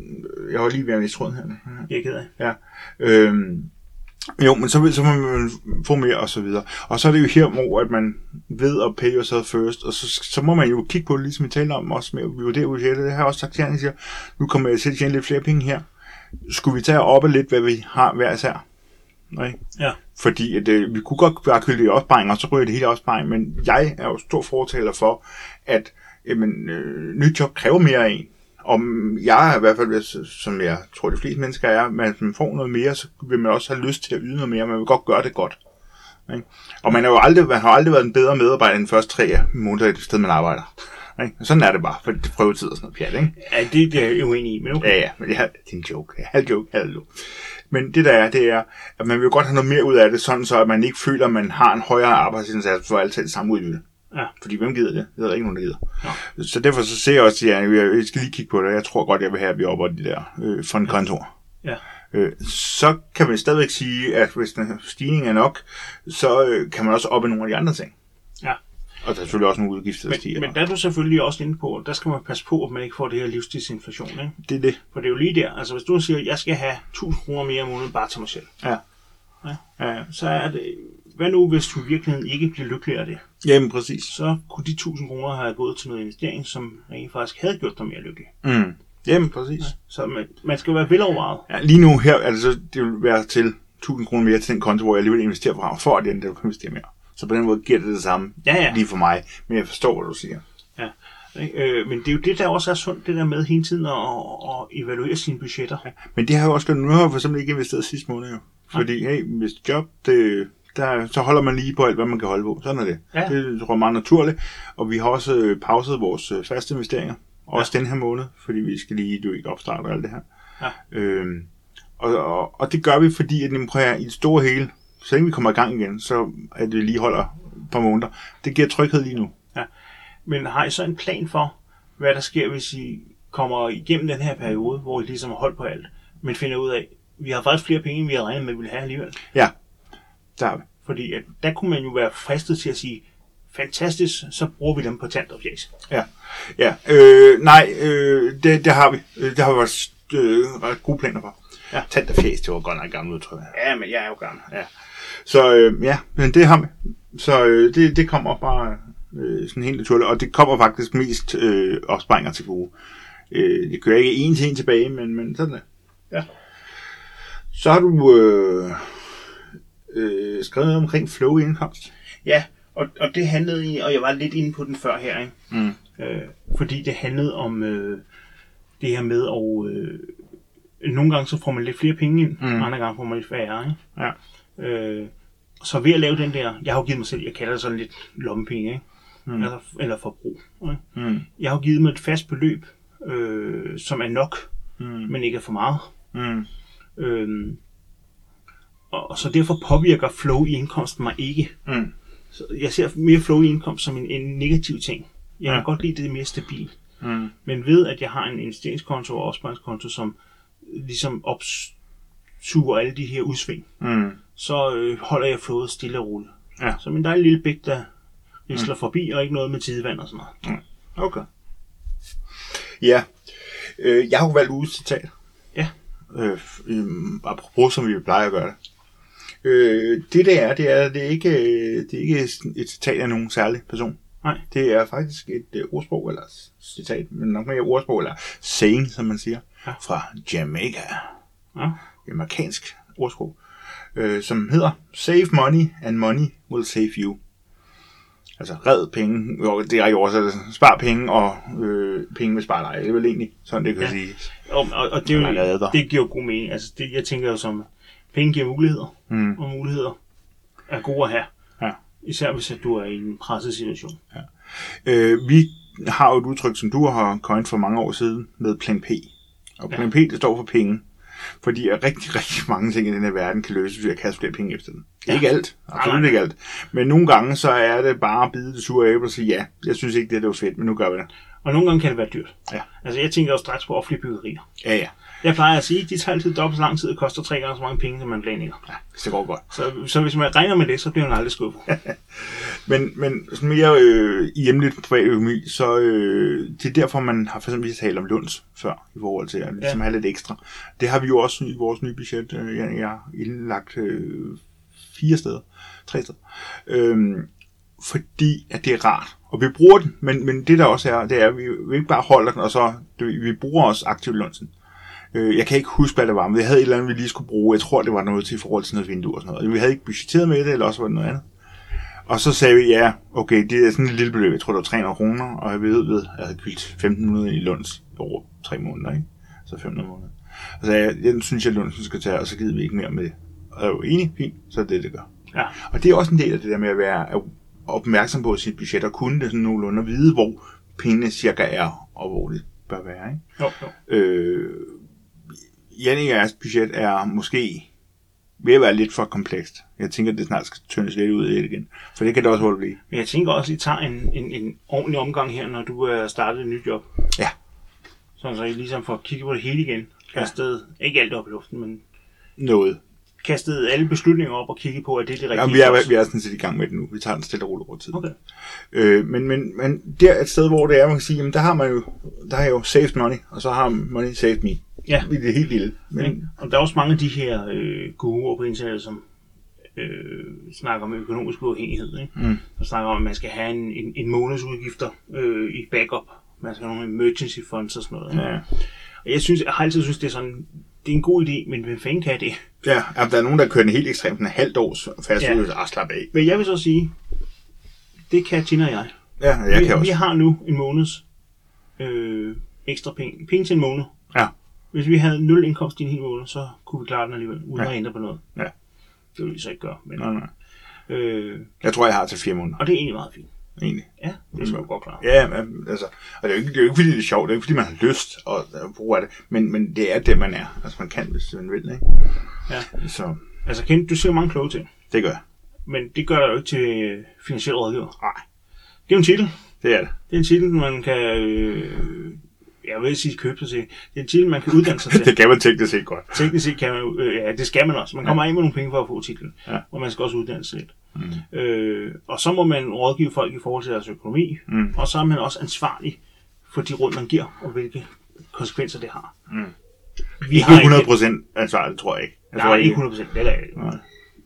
Speaker 2: jeg var lige ved at miste tråden her.
Speaker 1: Jeg er ked af.
Speaker 2: Ja. Øhm, jo, men så, vil- så må man få mere og så videre. Og så er det jo her, hvor at man ved at pay yourself first, og så, så må man jo kigge på det, ligesom vi talte om, også med at vurdere budgettet. Det har jeg også sagt til jer, jeg siger, nu kommer jeg til at tjene lidt flere penge her. Skulle vi tage op og lidt, hvad vi har hver især? Nej.
Speaker 1: Ja.
Speaker 2: Fordi at, øh, vi kunne godt bare køle det i opsparing, og så ryger det hele i opsparing, men jeg er jo stor fortaler for, at jamen, øh, nyt job kræver mere af en. Og jeg er i hvert fald, hvis- som jeg tror de fleste mennesker er, man, hvis man får noget mere, så vil man også have lyst til at yde noget mere, man vil godt gøre det godt. Ikke? Og man, er jo aldrig, man har aldrig været en bedre medarbejder end de første tre måneder i det sted, man arbejder. Ikke? Sådan er det bare, for det prøvetid og sådan noget pjat, ikke?
Speaker 1: Ja, det, det er jeg uenig i, men okay.
Speaker 2: Ja, ja, men det er, det er en joke. Halv joke, halv joke. Men det der er, det er, at man vil jo godt have noget mere ud af det, sådan så at man ikke føler, at man har en højere arbejdsindsats for altid samme udbytte.
Speaker 1: Ja.
Speaker 2: Fordi hvem gider det? Det er der ikke nogen, der gider. Ja. Så derfor så ser jeg også, at jeg, jeg skal lige kigge på det. Jeg tror godt, jeg vil have, at vi oppe det der øh, fondkontor.
Speaker 1: Ja.
Speaker 2: Øh, så kan man stadigvæk sige, at hvis den her stigning er nok, så øh, kan man også oppe nogle af de andre ting.
Speaker 1: Ja.
Speaker 2: Og der er selvfølgelig også nogle udgifter, der stiger.
Speaker 1: Men, men der er du selvfølgelig også inde på, der skal man passe på, at man ikke får det her livstidsinflation. Ikke?
Speaker 2: det er det.
Speaker 1: For det er jo lige der. Altså hvis du siger, at jeg skal have 1000 kroner mere om måneden bare til mig selv,
Speaker 2: Ja. Ja, ja.
Speaker 1: så er det... Hvad nu, hvis du i virkeligheden ikke bliver lykkelig af det?
Speaker 2: Jamen, præcis.
Speaker 1: Så kunne de 1000 kroner have gået til noget investering, som rent faktisk havde gjort dig mere lykkelig.
Speaker 2: Mm. Jamen, præcis.
Speaker 1: Så man, man skal være velovervejet.
Speaker 2: Ja, lige nu her, altså, det vil være til 1000 kroner mere til den konto, hvor jeg alligevel investerer fra, for at den der kan investere mere. Så på den måde giver det det samme
Speaker 1: Ja, ja.
Speaker 2: lige for mig. Men jeg forstår, hvad du siger.
Speaker 1: Ja. Ikke? Øh, men det er jo det, der også er sundt, det der med hele tiden at, at, at evaluere sine budgetter.
Speaker 2: Men det har jeg jo også gjort. Nu har jeg for eksempel ikke investeret sidste måned jo. Fordi, hey, hvis job, det, der, så holder man lige på alt, hvad man kan holde på. Sådan er det.
Speaker 1: Ja.
Speaker 2: Det tror jeg er meget naturligt. Og vi har også øh, pauset vores øh, faste investeringer. Også den her måned, fordi vi skal lige, du ikke opstarte alt det her. Ja. Øhm, og, og, og, det gør vi, fordi at, jamen, prøv at høre, i det store hele, så længe vi kommer i gang igen, så at vi lige holder et par måneder. Det giver tryghed lige nu.
Speaker 1: Men har I så en plan for, hvad der sker, hvis I kommer igennem den her periode, hvor I ligesom har holdt på alt, men finder ud af, at vi har faktisk flere penge, end vi havde regnet med, at vi ville have alligevel.
Speaker 2: Der er vi.
Speaker 1: Fordi at der kunne man jo være fristet til at sige, fantastisk, så bruger vi dem på tandopjæs.
Speaker 2: Ja, ja. Øh, nej, øh, det, det har vi. Øh, Det har vi også øh, ret gode planer for.
Speaker 1: Ja.
Speaker 2: Tant og fjæs, det var godt nok gammelt udtryk.
Speaker 1: Ja, men jeg er jo gammel.
Speaker 2: Ja. Så øh, ja, men det har vi. Så øh, det, det kommer bare øh, sådan helt naturligt, og det kommer faktisk mest øh, opsparinger til gode. Øh, det kører ikke en til en tilbage, men, men sådan er
Speaker 1: Ja.
Speaker 2: Så har du øh, øh, skrevet noget omkring flow i indkomst.
Speaker 1: Ja, og, og det handlede i, og jeg var lidt inde på den før her, ikke?
Speaker 2: Mm.
Speaker 1: Øh, fordi det handlede om øh, det her med, og øh, nogle gange så får man lidt flere penge ind,
Speaker 2: Mm.
Speaker 1: mm. andre gange får man lidt færre, ikke?
Speaker 2: Ja.
Speaker 1: Øh, så ved at lave den der, jeg har jo givet mig selv, jeg kalder det sådan lidt lommepenge, ikke?
Speaker 2: Mm.
Speaker 1: Mm. Altså, eller forbrug. Ikke?
Speaker 2: Mm.
Speaker 1: Jeg har jo givet mig et fast beløb, øh, som er nok,
Speaker 2: Mm.
Speaker 1: men ikke er for meget.
Speaker 2: Mm.
Speaker 1: Øh, og, og så derfor påvirker flow i indkomsten mig ikke.
Speaker 2: Mm.
Speaker 1: Så jeg ser mere flow i indkomst som en, en negativ ting. Jeg kan
Speaker 2: Ja.
Speaker 1: ja. godt lide det er mere stabilt.
Speaker 2: Mm.
Speaker 1: Men ved, at jeg har en investeringskonto og opsparingskonto, som ligesom opsuger alle de her udsving,
Speaker 2: Mm.
Speaker 1: så øh, holder jeg flådet stille og roligt.
Speaker 2: Ja.
Speaker 1: Som en dejlig lille bæk, der risler mm. forbi, og ikke noget med tidevand og sådan noget.
Speaker 2: Okay. Ja. Øh, jeg har jo valgt uges citat.
Speaker 1: Ja.
Speaker 2: Øh, øhm, apropos, som vi plejer at gøre det. Øh, det der er, det er, det er ikke, øh, det er ikke sådan et citat af nogen særlig person.
Speaker 1: Nej.
Speaker 2: Det er faktisk et øh, ordsprog, eller s- citat, men nok mere ordsprog, eller saying, som man siger,
Speaker 1: Ja.
Speaker 2: fra Jamaica.
Speaker 1: Ja.
Speaker 2: Amerikansk ordsprog, øh, som hedder Save money, and money will save you. Altså red penge, jo, det er ikke oversat, spar penge, og øh, penge vil spare dig. Det er vel egentlig sådan, det kan ja.
Speaker 1: Ja.
Speaker 2: siges.
Speaker 1: Og, og, og det, er
Speaker 2: Man
Speaker 1: jo,
Speaker 2: lader.
Speaker 1: det giver jo god mening. Altså, det, jeg tænker jo som, penge giver muligheder,
Speaker 2: Mm.
Speaker 1: og muligheder er gode at have.
Speaker 2: Ja.
Speaker 1: Især hvis at du er i en presset situation.
Speaker 2: Øh, vi har jo et udtryk, som du har coined for mange år siden, med plan P. Og plan P, det står for penge. Fordi at rigtig, rigtig mange ting i den her verden kan løses ved at kaste flere penge efter den. Ja.
Speaker 1: Ja.
Speaker 2: Ikke alt.
Speaker 1: Nej,
Speaker 2: Absolut
Speaker 1: nej.
Speaker 2: ikke alt. Men nogle gange, så er det bare at bide det sure æble og sige, ja, jeg synes ikke, det, det var fedt, men nu gør vi det.
Speaker 1: Og nogle gange kan det være dyrt.
Speaker 2: Ja.
Speaker 1: Altså, jeg tænker jo straks på offentlige byggerier.
Speaker 2: Ja, ja.
Speaker 1: Jeg plejer at sige, at de tager altid dobbelt så lang tid og koster tre gange så mange penge, som man planlægger.
Speaker 2: ja hvis det går godt.
Speaker 1: Så, så hvis man regner med det, så bliver man aldrig skuffet.
Speaker 2: Men, men sådan mere øh, i hjemligt privat økonomi, så øh, det er derfor, man har for eksempel talt om løns før, i forhold til at ligesom
Speaker 1: Ja.
Speaker 2: have lidt ekstra. Det har vi jo også i vores nye budget. Øh, jeg, jeg har indlagt øh, fire steder, tre steder. Øhm, fordi at det er rart. Og vi bruger den, men, men det der også er, det er, at vi, vi ikke bare holder den, og så du, ved, vi bruger også aktivt lønsen. Øh, jeg kan ikke huske, hvad det var, men vi havde et eller andet, vi lige skulle bruge. Jeg tror, det var noget til i forhold til noget vindue og sådan noget. Vi havde ikke budgetteret med det, eller også var det noget andet. Og så sagde vi, ja, okay, det er sådan et lille beløb. Jeg tror, det var 300 kroner, og jeg ved, ved at jeg havde købt 1.500 i Lunds over tre måneder, ikke? Så 500 måneder. Og så sagde jeg, den synes jeg, Lunds skal tage, og så gider vi ikke mere med det. Og jeg var enig, fint, så er det, det gør.
Speaker 1: Ja.
Speaker 2: Og det er også en del af det der med at være opmærksom på sit budget og kunne det sådan nogenlunde og vide, hvor pengene cirka er, og hvor det bør være. Ikke?
Speaker 1: Jo, jo.
Speaker 2: Øh, Jannik og jeres budget er måske ved at være lidt for komplekst. Jeg tænker, at det snart skal tyndes lidt ud i det igen. For det kan det også hurtigt blive.
Speaker 1: Men jeg tænker også, at I tager en, en, en ordentlig omgang her, når du er startet et nyt job.
Speaker 2: Ja.
Speaker 1: Sådan så I ligesom får kigget på det hele igen. Kastet, ja. ikke alt op i luften, men
Speaker 2: Noget.
Speaker 1: kastet alle beslutninger op og kigget på, at det er det rigtige.
Speaker 2: Ja, vi,
Speaker 1: også.
Speaker 2: er, vi er sådan set i gang med det nu. Vi tager den stille og roligt over tid.
Speaker 1: Okay.
Speaker 2: Øh, men, men, men der er et sted, hvor det er, man kan sige, jamen, der har man jo, der har jeg jo saved money, og så har money saved me.
Speaker 1: Ja.
Speaker 2: I det helt lille. Men,
Speaker 1: Men, og der er også mange af de her øh, guruer på internettet, som øh, snakker om økonomisk uafhængighed. Ikke?
Speaker 2: Mm.
Speaker 1: Som snakker om, at man skal have en, en, en måneds udgifter øh, i backup. Man skal have nogle emergency funds og sådan noget. ikke?
Speaker 2: ja.
Speaker 1: Og jeg, synes, jeg har altid synes, det er sådan, det er en god idé, men hvem fanden kan det?
Speaker 2: Ja, altså, der er nogen, der kører den helt ekstremt, en halvt års fast
Speaker 1: Ja.
Speaker 2: ja. ud, og slap af.
Speaker 1: Men jeg vil så sige, det kan Tina og jeg.
Speaker 2: Ja, jeg
Speaker 1: vi,
Speaker 2: kan
Speaker 1: vi
Speaker 2: også.
Speaker 1: har nu en måneds øh, ekstra penge. Penge til en måned.
Speaker 2: Ja.
Speaker 1: Hvis vi havde nul indkomst i en hel måned, så kunne vi klare den alligevel, uden
Speaker 2: Ja.
Speaker 1: at ændre på noget.
Speaker 2: Ja.
Speaker 1: Det vil vi så ikke gøre. Men,
Speaker 2: Nej, nej.
Speaker 1: øh,
Speaker 2: Jeg tror, jeg har til fire måneder,
Speaker 1: og det er egentlig meget fint.
Speaker 2: egentlig.
Speaker 1: Ja,
Speaker 2: Mm.
Speaker 1: det skal vi godt klare.
Speaker 2: Ja, men, altså, og det er, jo ikke, det er jo ikke, fordi det er sjovt, det er jo ikke, fordi man har lyst at, at bruge af det, men, men det er det, man er. Altså, man kan, hvis man vil, ikke?
Speaker 1: Ja.
Speaker 2: Så
Speaker 1: Altså Kent, du siger mange kloge ting,
Speaker 2: det gør jeg.
Speaker 1: men det gør der jo ikke til øh, finansiel rådgiver.
Speaker 2: Nej,
Speaker 1: Det er jo en titel.
Speaker 2: det er det.
Speaker 1: Det er en titel, man kan... Øh, jeg vil ikke sige købe sig til. Det er en titel, man kan uddanne sig til.
Speaker 2: [LAUGHS] det kan man teknisk set godt.
Speaker 1: Teknisk set kan man jo, øh, ja, det skal man også. Man kommer af med nogle penge for at få titlen,
Speaker 2: Ja.
Speaker 1: og man skal også uddanne sig lidt. Mm. Øh, og så må man rådgive folk i forhold til deres økonomi, mm. og så er man også ansvarlig for de råd, man giver, og hvilke konsekvenser det har. Mm. Vi
Speaker 2: Ikke
Speaker 1: har ikke,
Speaker 2: 100 procent ansvarligt, tror jeg ikke. Jeg tror
Speaker 1: nej, ikke 100 procent. Det er det.
Speaker 2: Nej.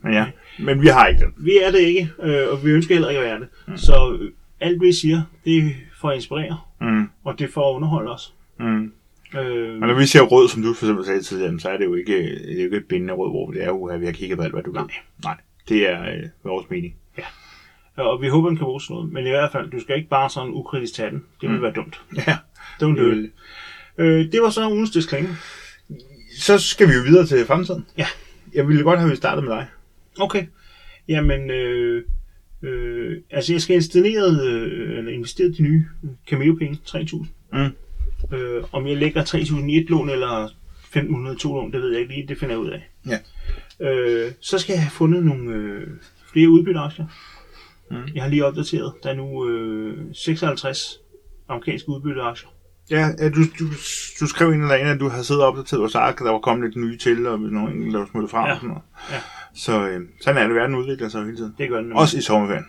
Speaker 2: Men ja, men vi har ikke den.
Speaker 1: Vi er det ikke, øh, og vi ønsker heller ikke at være det. Mm. Så øh, alt, vi siger, det er for at inspirere,
Speaker 2: Mm.
Speaker 1: og det er for at underholde os.
Speaker 2: Mm.
Speaker 1: Øh,
Speaker 2: Og når vi ser rød, som du for eksempel sagde tidligere, jamen, så er det jo ikke, det er jo ikke et bindende rød, hvor det er, uha, vi har kigget på alt, hvad du Nej. Nej, det er øh, vores mening.
Speaker 1: Øh, og vi håber, den kan bruges til noget. Men i hvert fald, du skal ikke bare sådan ukritisk tage den. Det vil være dumt.
Speaker 2: Ja.
Speaker 1: Don't do
Speaker 2: Øh.
Speaker 1: it. Øh, det var så ugens disclaimer.
Speaker 2: Så skal vi jo videre til fremtiden.
Speaker 1: Ja.
Speaker 2: Jeg ville godt have, vi startet med dig.
Speaker 1: Okay. Jamen, øh, øh, altså jeg skal installeret, øh, eller investeret de nye øh, Cameo-penge, 3.000. Mm. Øh, om jeg lægger 3.000 i et lån, eller 1.500 i to lån, det ved jeg ikke lige, det finder jeg ud af.
Speaker 2: Ja.
Speaker 1: Øh, så skal jeg have fundet nogle øh, flere udbytteaktier. Mm. Jeg har lige opdateret, der er nu øh, 56 amerikanske udbytteaktier.
Speaker 2: Ja, ja du, du, du skrev en eller anden, at du havde siddet og opdateret vores ark, og der var kommet lidt nye til, og nogle enkelte, der var smuttet frem
Speaker 1: Ja.
Speaker 2: og sådan noget.
Speaker 1: Ja.
Speaker 2: Så øh, sådan er det, verden udvikler sig jo hele tiden.
Speaker 1: Det gør den. nemlig.
Speaker 2: Også i sommerferien.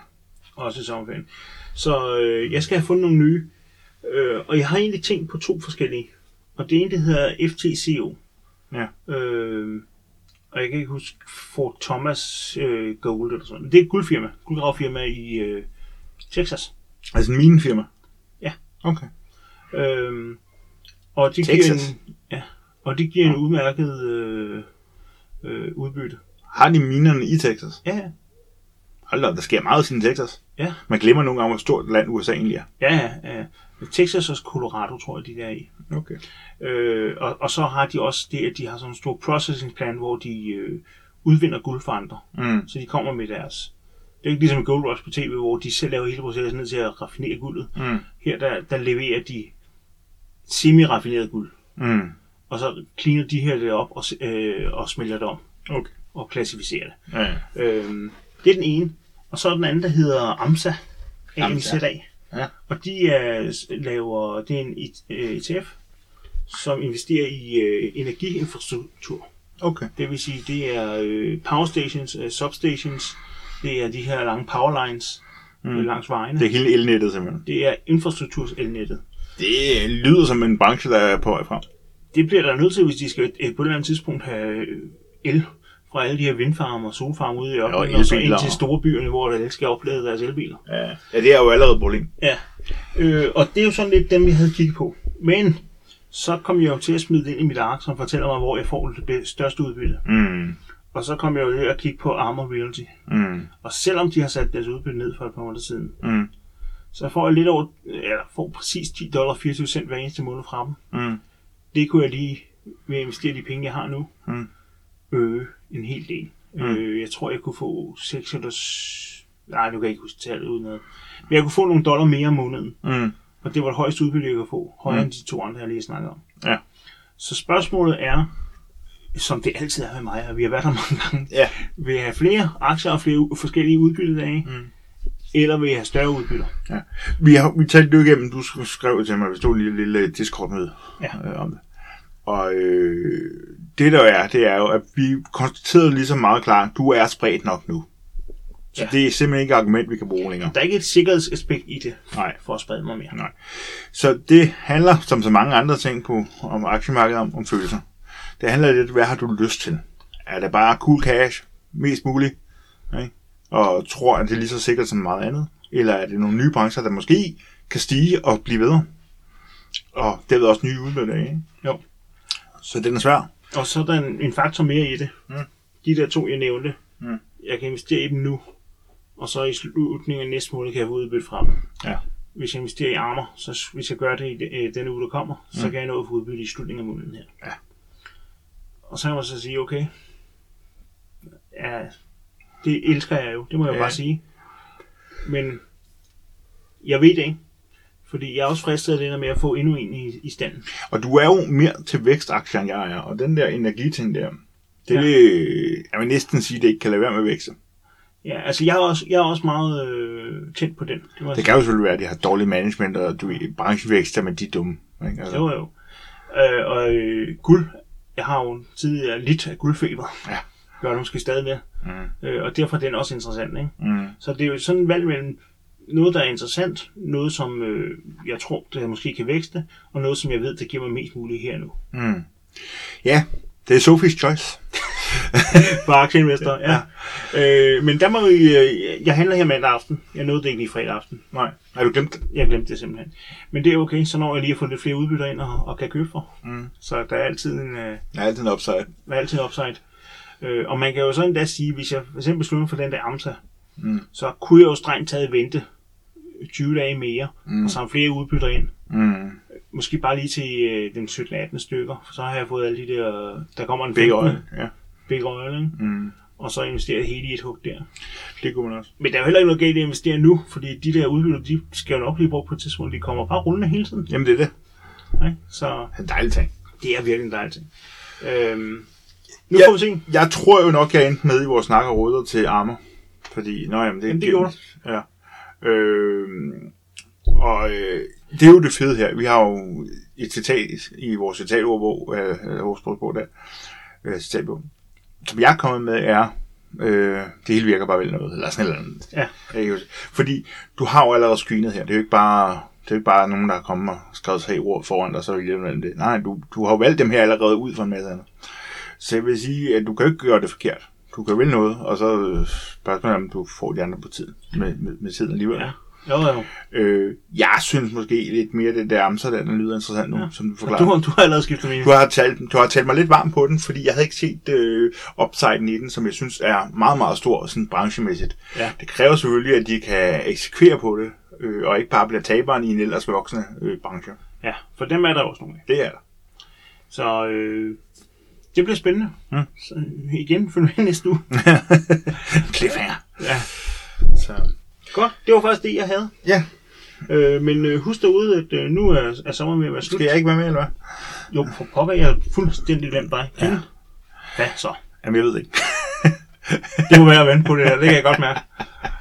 Speaker 1: også i sommerferien. Så øh, jeg skal have fundet nogle nye. Øh, og jeg har egentlig tænkt på to forskellige. Og det ene, det hedder FTCO.
Speaker 2: Ja.
Speaker 1: Øh, og jeg kan ikke huske Fort Thomas øh, Gold eller sådan noget. Men det er et guldfirma. Guldgravfirma i øh, Texas.
Speaker 2: Altså mine firma.
Speaker 1: Ja.
Speaker 2: Okay.
Speaker 1: Øh, og de
Speaker 2: Texas?
Speaker 1: Giver en, ja, og det giver en udmærket øh, øh, udbytte.
Speaker 2: Har de minerne i Texas?
Speaker 1: Ja, ja.
Speaker 2: Hold da op, der sker meget siden Texas.
Speaker 1: Ja.
Speaker 2: Man glemmer nogle gange, hvor stort et land USA egentlig er.
Speaker 1: ja, ja, ja. Texas og Colorado, tror jeg, de der er i.
Speaker 2: Okay.
Speaker 1: Øh, og, og så har de også det, at de har sådan en stor processing plan, hvor de øh, udvinder guld for andre.
Speaker 2: Mm.
Speaker 1: Så de kommer med deres... Det er ikke ligesom i Gold Rush på tv, hvor de selv laver hele processen ned til at raffinere guldet.
Speaker 2: Mm.
Speaker 1: Her der, der leverer de semi-raffineret guld,
Speaker 2: Mm.
Speaker 1: og så cleaner de her det op og, s- øh, og smelter det om
Speaker 2: Okay.
Speaker 1: og klassificerer det.
Speaker 2: Ja, ja.
Speaker 1: Øh, det er den ene. Og så er den anden, der hedder AMSA.
Speaker 2: AMSA.
Speaker 1: AMSA.
Speaker 2: Ja.
Speaker 1: Og de er, laver, det er en I- øh, ETF, som investerer i øh, energiinfrastruktur.
Speaker 2: Okay.
Speaker 1: Det vil sige, det er øh, power stations, øh, substations, det er de her lange powerlines mm. øh, langs vejene.
Speaker 2: Det
Speaker 1: Det.
Speaker 2: er hele elnettet simpelthen.
Speaker 1: det er infrastrukturselnettet.
Speaker 2: Det øh, lyder som en branche, der er på vej frem.
Speaker 1: Det bliver der nødt til, hvis de skal øh, på et eller andet tidspunkt have øh, el fra alle de her vindfarme og solfarme ude i ørkenen, og så ind
Speaker 2: elbiler.
Speaker 1: til store byerne, hvor der alle skal oplade deres elbiler.
Speaker 2: Ja. ja, det er jo allerede et problem.
Speaker 1: Ja, øh, og det er jo sådan lidt dem, jeg havde kigget på. Men så kom jeg jo til at smide det ind i mit ark, som fortæller mig, hvor jeg får det be- største udbytte.
Speaker 2: Mm.
Speaker 1: Og så kom jeg jo til at kigge på Armor Realty.
Speaker 2: Mm.
Speaker 1: Og selvom de har sat deres udbytte ned for et par måneder siden,
Speaker 2: Mm.
Speaker 1: så får jeg lidt over, eller får præcis 10 dollar 24 cent hver eneste måned fra dem.
Speaker 2: Mm.
Speaker 1: Det kunne jeg lige, ved at investere de penge, jeg har nu,
Speaker 2: Mm.
Speaker 1: øge en hel del. Mm. Øh, jeg tror, jeg kunne få 6 eller... s- Nej, nu kan jeg ikke huske tallet uden noget. Men jeg kunne få nogle dollar mere om måneden.
Speaker 2: Mm.
Speaker 1: Og det var det højeste udbytte, jeg kunne få. Højere mm.
Speaker 2: Mm.
Speaker 1: end de to andre, jeg lige snakkede om.
Speaker 2: Ja.
Speaker 1: Så spørgsmålet er, som det altid er med mig, og vi har været der [LAUGHS] mange gange,
Speaker 2: Ja.
Speaker 1: vil jeg have flere aktier og flere u- forskellige udbyttedage,
Speaker 2: Mm.
Speaker 1: eller vil jeg have større udbytter?
Speaker 2: Ja. Vi har vi talte det igennem, du sk- skrev til mig, vi stod i en lille lille Discord-møde
Speaker 1: Ja.
Speaker 2: øh, om det. Og øh, det der er, det er jo, at vi konstaterede ligesom meget klart, du er spredt nok nu. Så
Speaker 1: Ja.
Speaker 2: ja. det er simpelthen ikke et argument, vi kan bruge længere.
Speaker 1: Der er ikke et sikkerhedsaspekt i det,
Speaker 2: Nej.
Speaker 1: for at sprede mig mere.
Speaker 2: Nej. Så det handler, som så mange andre ting på om aktiemarkedet, om, om følelser. Det handler lidt, hvad har du lyst til? Er det bare cool cash, mest muligt, ikke? og tror, at det er lige så sikkert som meget andet? Eller er det nogle nye brancher, der måske kan stige og blive bedre? Og derved også nye udbytte af, ikke?
Speaker 1: Jo.
Speaker 2: Så den er svær.
Speaker 1: Og så er der en, en faktor mere i det.
Speaker 2: Mm.
Speaker 1: De der to, jeg nævnte,
Speaker 2: Mm.
Speaker 1: jeg kan investere i dem nu, og så i slutningen af næste måned kan jeg få udbytte fra dem.
Speaker 2: Ja.
Speaker 1: Hvis jeg investerer i armer, så s- hvis jeg gør det i de- øh, denne uge, der kommer, så kan jeg nå at få udbytte i slutningen af måneden her.
Speaker 2: Mm. Ja.
Speaker 1: Og så kan man så sige, okay, ja, det elsker jeg jo, det må jeg ja.
Speaker 2: Ja.
Speaker 1: bare sige. Men jeg ved det ikke, fordi jeg er også fristet af det der med at få endnu en i, i stand.
Speaker 2: Og du er jo mere til vækstaktier, end jeg er, og den der energiting der,
Speaker 1: Ja.
Speaker 2: det ja. vil jeg vil næsten sige, at det ikke kan lade være med at vækse.
Speaker 1: Ja, altså jeg er også, jeg er også meget øh, tændt på den. Det, må jeg
Speaker 2: Det kan jo selvfølgelig være, at de har dårlig management, og du ved, branchevækster, men de er dumme. Ikke? Altså,
Speaker 1: Jo, jo. Øh, og øh, guld, jeg har jo tidligere lidt af guldfeber.
Speaker 2: Ja.
Speaker 1: Gør det måske stadig mere.
Speaker 2: Mm.
Speaker 1: Øh, og derfor er den også interessant, ikke?
Speaker 2: Mm.
Speaker 1: Så det er jo sådan et valg mellem noget, der er interessant, noget, som øh, jeg tror, der måske kan vækste, og noget, som jeg ved, der giver mig mest muligt her nu.
Speaker 2: Mm. Ja, det er Sophie's Choice.
Speaker 1: For aktieinvestor, ja. ja. Øh, men der må vi, øh, jeg handler her mandag aften. Jeg nåede det ikke lige fredag aften.
Speaker 2: Nej, har du glemt det?
Speaker 1: Jeg glemte det simpelthen. Men det er okay, så når jeg lige at få lidt flere udbytter ind og, og kan købe for.
Speaker 2: Mm.
Speaker 1: Så der er altid en... Øh,
Speaker 2: Jeg har altid en upside.
Speaker 1: Der er altid upside. Øh, og man kan jo sådan endda sige, hvis jeg for eksempel beslutter mig for den der Amsa,
Speaker 2: Mm.
Speaker 1: så kunne jeg jo strengt taget vente 20 dage mere, mm.
Speaker 2: Mm.
Speaker 1: og samle flere udbytter ind.
Speaker 2: Mm.
Speaker 1: Måske bare lige til øh, den 17-18 stykker, for så har jeg fået alle de der, der kommer en 15,
Speaker 2: Begge øjne, ja.
Speaker 1: big oil, ikke?
Speaker 2: Mm.
Speaker 1: og så investerer jeg hele i et hug der.
Speaker 2: Det kunne man også.
Speaker 1: Men der er jo heller ikke noget galt i at investere nu, fordi de der udbytter, de skal jo nok blive brugt på et tidspunkt, de kommer bare rullende hele tiden.
Speaker 2: Jamen, det er det.
Speaker 1: Ikke? Så
Speaker 2: Det er en dejlig ting.
Speaker 1: det er virkelig en dejlig ting. Øhm, nu
Speaker 2: Ja.
Speaker 1: får vi se.
Speaker 2: Jeg tror jo nok, jeg endte med i vores snak og råder til armer. Fordi, nå jamen, det,
Speaker 1: Jamen, det gjorde
Speaker 2: du. Ja. Øh, og øh, det er jo det fede her. Vi har jo et citat i vores citatordbog, øh, eller vores sprogspor der, øh, citatbog, som jeg er kommet med, er, øh, det hele virker bare vel noget, eller sådan et eller andet.
Speaker 1: Ja.
Speaker 2: Jeg kan huske. Fordi du har jo allerede screenet her. Det er jo ikke bare, det er jo ikke bare nogen, der er kommet og skrevet tre ord foran dig, så vil jeg det. Nej, du, du har jo valgt dem her allerede ud fra en masse andet. Så jeg vil sige, at du kan jo ikke gøre det forkert. Du kan vel noget, og så øh, spørgsmålet er, om du får de andre på tid, med, med, med tiden alligevel.
Speaker 1: Ja. Jo, jo.
Speaker 2: Øh, jeg synes måske lidt mere det der amser, der den lyder interessant nu, ja. som du
Speaker 1: Og
Speaker 2: forklarer.
Speaker 1: Du, har- du har allerede skiftet mening.
Speaker 2: Du har, talt, du har talt mig lidt varm på den, fordi jeg havde ikke set øh, upsiden i den, som jeg synes er meget, meget stor sådan branchemæssigt.
Speaker 1: Ja.
Speaker 2: Det kræver selvfølgelig, at de kan eksekvere på det, øh, og ikke bare bliver taberen i en ellers voksende øh, branche.
Speaker 1: Ja, for dem er der også nogle af.
Speaker 2: Det
Speaker 1: [LAUGHS]
Speaker 2: er der.
Speaker 1: Så øh, det bliver spændende.
Speaker 2: Mm.
Speaker 1: Så, øh, igen, følg med næste uge.
Speaker 2: Cliffhanger.
Speaker 1: Ja.
Speaker 2: Så.
Speaker 1: Godt, det var faktisk det, jeg havde.
Speaker 2: Ja,
Speaker 1: Øh, men øh, husk derude, at øh, nu er, er sommeren ved at være slut.
Speaker 2: skal jeg ikke være med, eller hvad?
Speaker 1: Jo, for pokker, jeg har fuldstændig glemt dig. Ja. Hvad så?
Speaker 2: Jamen, jeg ved det ikke.
Speaker 1: Det må være at vente på det der, det kan jeg godt mærke.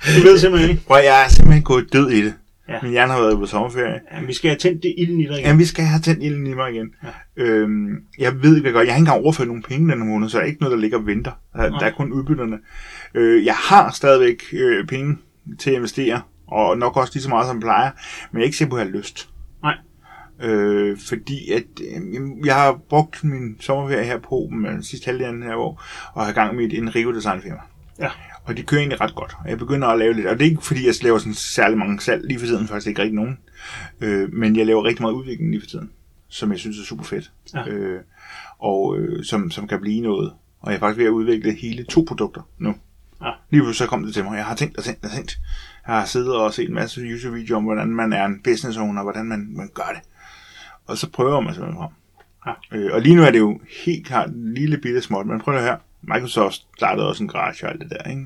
Speaker 1: Det ved jeg simpelthen ikke.
Speaker 2: Prøv, at, jeg er simpelthen gået død i det.
Speaker 1: Ja.
Speaker 2: Ja. Min hjerne har været på sommerferie.
Speaker 1: Jamen, vi skal have tændt det ilden i dig igen.
Speaker 2: Jamen, vi skal have tændt ilden i mig igen.
Speaker 1: Ja.
Speaker 2: Ja. Øhm, jeg ved ikke, hvad jeg gør. Jeg har ikke engang overført nogen penge denne måned, så der er ikke noget, der ligger og venter. Der, der er kun udbytterne. Øh, jeg har stadigvæk øh, penge til at investere, og nok også lige så meget, som jeg plejer, men jeg er ikke sikker på, at jeg har lyst.
Speaker 1: Nej.
Speaker 2: Øh, fordi at øh, jamen, jeg har brugt min sommerferie her på men sidste halvdelen her år, og har gang med et Enrico designfirma.
Speaker 1: Ja.
Speaker 2: Og det kører egentlig ret godt. Og jeg begynder at lave lidt. Og det er ikke fordi, jeg laver sådan særlig mange salg lige for tiden. Faktisk ikke rigtig nogen. Øh, men jeg laver rigtig meget udvikling lige for tiden. Som jeg synes er super fedt.
Speaker 1: Ja.
Speaker 2: Øh, og øh, som, som kan blive noget. Og jeg er faktisk ved at udvikle hele to produkter nu.
Speaker 1: Ja.
Speaker 2: Lige pludselig så kom det til mig. Jeg har tænkt og tænkt og tænkt. Jeg har siddet og set en masse YouTube-videoer om, hvordan man er en business owner, hvordan man, man gør det. Og så prøver man simpelthen frem.
Speaker 1: Ja.
Speaker 2: Øh, og lige nu er det jo helt klart en lille bitte småt, men prøv at høre her. Microsoft startede også en garage og alt det der, ikke?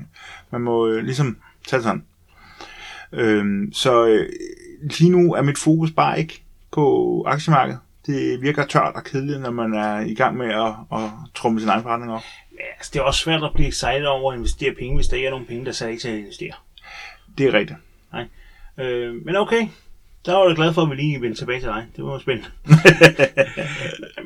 Speaker 2: Man må øh, ligesom tage sådan. Øh, Øhm, så øh, lige nu er mit fokus bare ikke på aktiemarkedet. Det virker tørt og kedeligt, når man er i gang med at, at trumme sin egen forretning op.
Speaker 1: Ja, altså, det er også svært at blive excited over at investere penge, hvis der ikke er nogen penge, der er sat af til at investere.
Speaker 2: Det er rigtigt.
Speaker 1: Øh, men okay, der var jeg glad for, at vi lige vendte tilbage til dig. Det var spændende.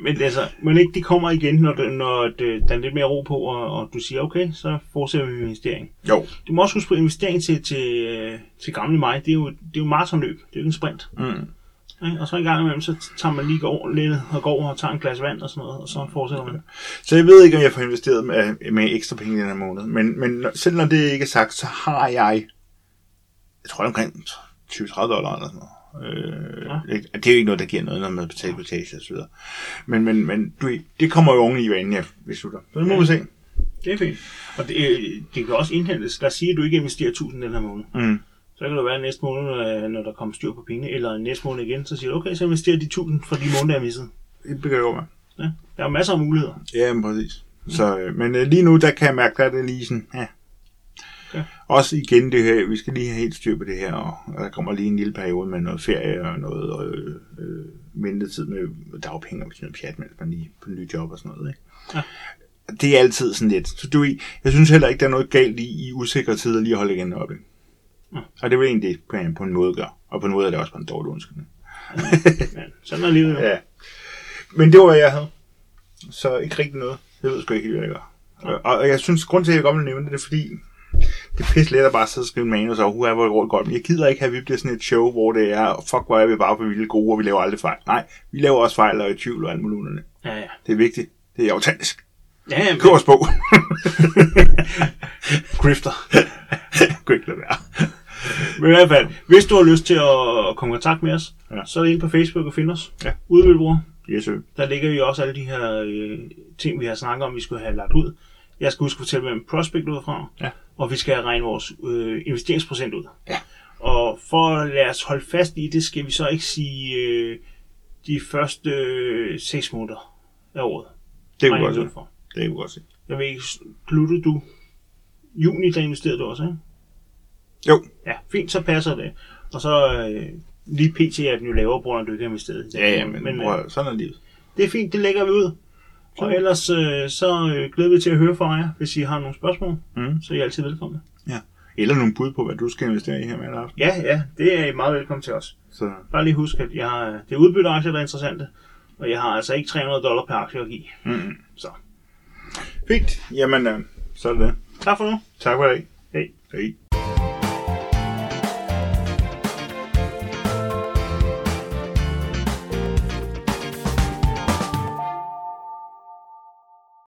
Speaker 1: men altså, men ikke, det kommer igen, når, det, når det, der er lidt mere ro på, og, og du siger, okay, så fortsætter vi med investering.
Speaker 2: Jo.
Speaker 1: Du må også huske på investering til, til, øh, til gamle mig. Det er jo, det er jo maratonløb. Det er jo ikke en sprint.
Speaker 2: Mm.
Speaker 1: Ikke? Og så en gang imellem, så tager man lige går lidt og går over og tager en glas vand og sådan noget, og så fortsætter man.
Speaker 2: Så jeg ved ikke, om jeg får investeret med, med ekstra penge i den her måned. Men, men når- selv når det ikke er sagt, så har jeg, jeg tror det er omkring 20-30 dollar eller sådan noget. Øh,
Speaker 1: Ja.
Speaker 2: ikke- Det er jo ikke noget, der giver noget, når man betaler kortage og så videre. Men, men, men du, ved, det kommer jo oveni, hvad inden jeg beslutter. Så det må vi se.
Speaker 1: Det er fint. Og det, øh, det kan også indhentes. Lad os sige, at du ikke investerer 1000 den her måned.
Speaker 2: Mm.
Speaker 1: Så kan det være at næste måned, øh, når der kommer styr på pengene, eller næste måned igen, så siger du, okay, så investerer de 1000 for de måneder, jeg missede.
Speaker 2: Det begynder jeg over med.
Speaker 1: Ja, der er masser af muligheder.
Speaker 2: Ja, men præcis. Så, øh, men øh, lige nu, der kan jeg mærke, der er det lige sådan, ja.
Speaker 1: Ja.
Speaker 2: Også igen det her, vi skal lige have helt styr på det her, og, og der kommer lige en lille periode med noget ferie og noget øh, øh, ventetid med dagpenge og sådan noget pjat, mens man lige på en ny job og sådan noget. Ikke?
Speaker 1: Ja.
Speaker 2: Det er altid sådan lidt. Så du, ved, jeg synes heller ikke, der er noget galt i, i usikre tider lige at holde igen op. Ikke?
Speaker 1: Ja.
Speaker 2: Og det er jo egentlig det, på en, på en måde gør. Og på en måde er det også bare en dårlig undskyldning. [LAUGHS]
Speaker 1: Ja, sådan er livet jo.
Speaker 2: Ja. Men det var, hvad jeg havde. Så ikke rigtig noget. Jeg ved sgu ikke, helt, hvad jeg gør. Og, og jeg synes, grund til, at jeg godt vil nævne det, det er fordi, det er pisse let at bare sidde og skrive en manus, og huha, hvor det går godt. Men jeg gider ikke have, at vi bliver sådan et show, hvor det er, fuck, hvor er vi bare på vildt gode, og vi laver aldrig fejl. Nej, vi laver også fejl og er i tvivl og alt muligt. underligt.
Speaker 1: Ja, ja.
Speaker 2: Det er vigtigt. Det er autentisk.
Speaker 1: ja jamen,
Speaker 2: Køb os [LAUGHS] på.
Speaker 1: grifter.
Speaker 2: Kunne ikke lade være.
Speaker 1: Men i hvert fald, hvis du har lyst til at komme i kontakt med os,
Speaker 2: Ja.
Speaker 1: ja. så er det inde på Facebook og find os.
Speaker 2: Ja.
Speaker 1: Ude ved Vildbror.
Speaker 2: Yes, sir.
Speaker 1: Der ligger jo også alle de her øh, ting, vi har snakket om, vi skulle have lagt ud. Jeg skal huske at fortælle, hvem Prospect ud fra,
Speaker 2: Ja.
Speaker 1: og vi skal regne vores øh, investeringsprocent ud.
Speaker 2: Ja.
Speaker 1: Og for at lade os holde fast i det, skal vi så ikke sige øh, de første øh, 6 måneder af året.
Speaker 2: Det kunne
Speaker 1: Regner
Speaker 2: godt
Speaker 1: vi
Speaker 2: se.
Speaker 1: ud fra.
Speaker 2: Det kunne godt se.
Speaker 1: Jeg ved ikke, sluttede du juni, der investerede du også, ikke?
Speaker 2: Jo.
Speaker 1: Ja, fint, så passer det. Og så øh, lige pt. er den jo lavere, på grund af, at du ikke har investeret.
Speaker 2: Ja, ja, men, men
Speaker 1: øh,
Speaker 2: bror, sådan er livet.
Speaker 1: det er fint, det lægger vi ud. Og ellers øh, så øh, glæder vi til at høre fra jer, hvis I har nogle spørgsmål.
Speaker 2: Mm.
Speaker 1: Så er I altid velkomne.
Speaker 2: Eller nogle bud på, hvad du skal investere i her med aften.
Speaker 1: Ja, ja, det er I meget velkommen til os.
Speaker 2: Så
Speaker 1: Bare lige husk, at jeg har, det er udbytteaktier, der er interessante. Og jeg har altså ikke 300 dollar per aktie at give.
Speaker 2: Mm.
Speaker 1: Så.
Speaker 2: Fint. Jamen, øh, så er det det.
Speaker 1: Tak for nu.
Speaker 2: Tak for i dag.
Speaker 1: Hej.
Speaker 2: Hej.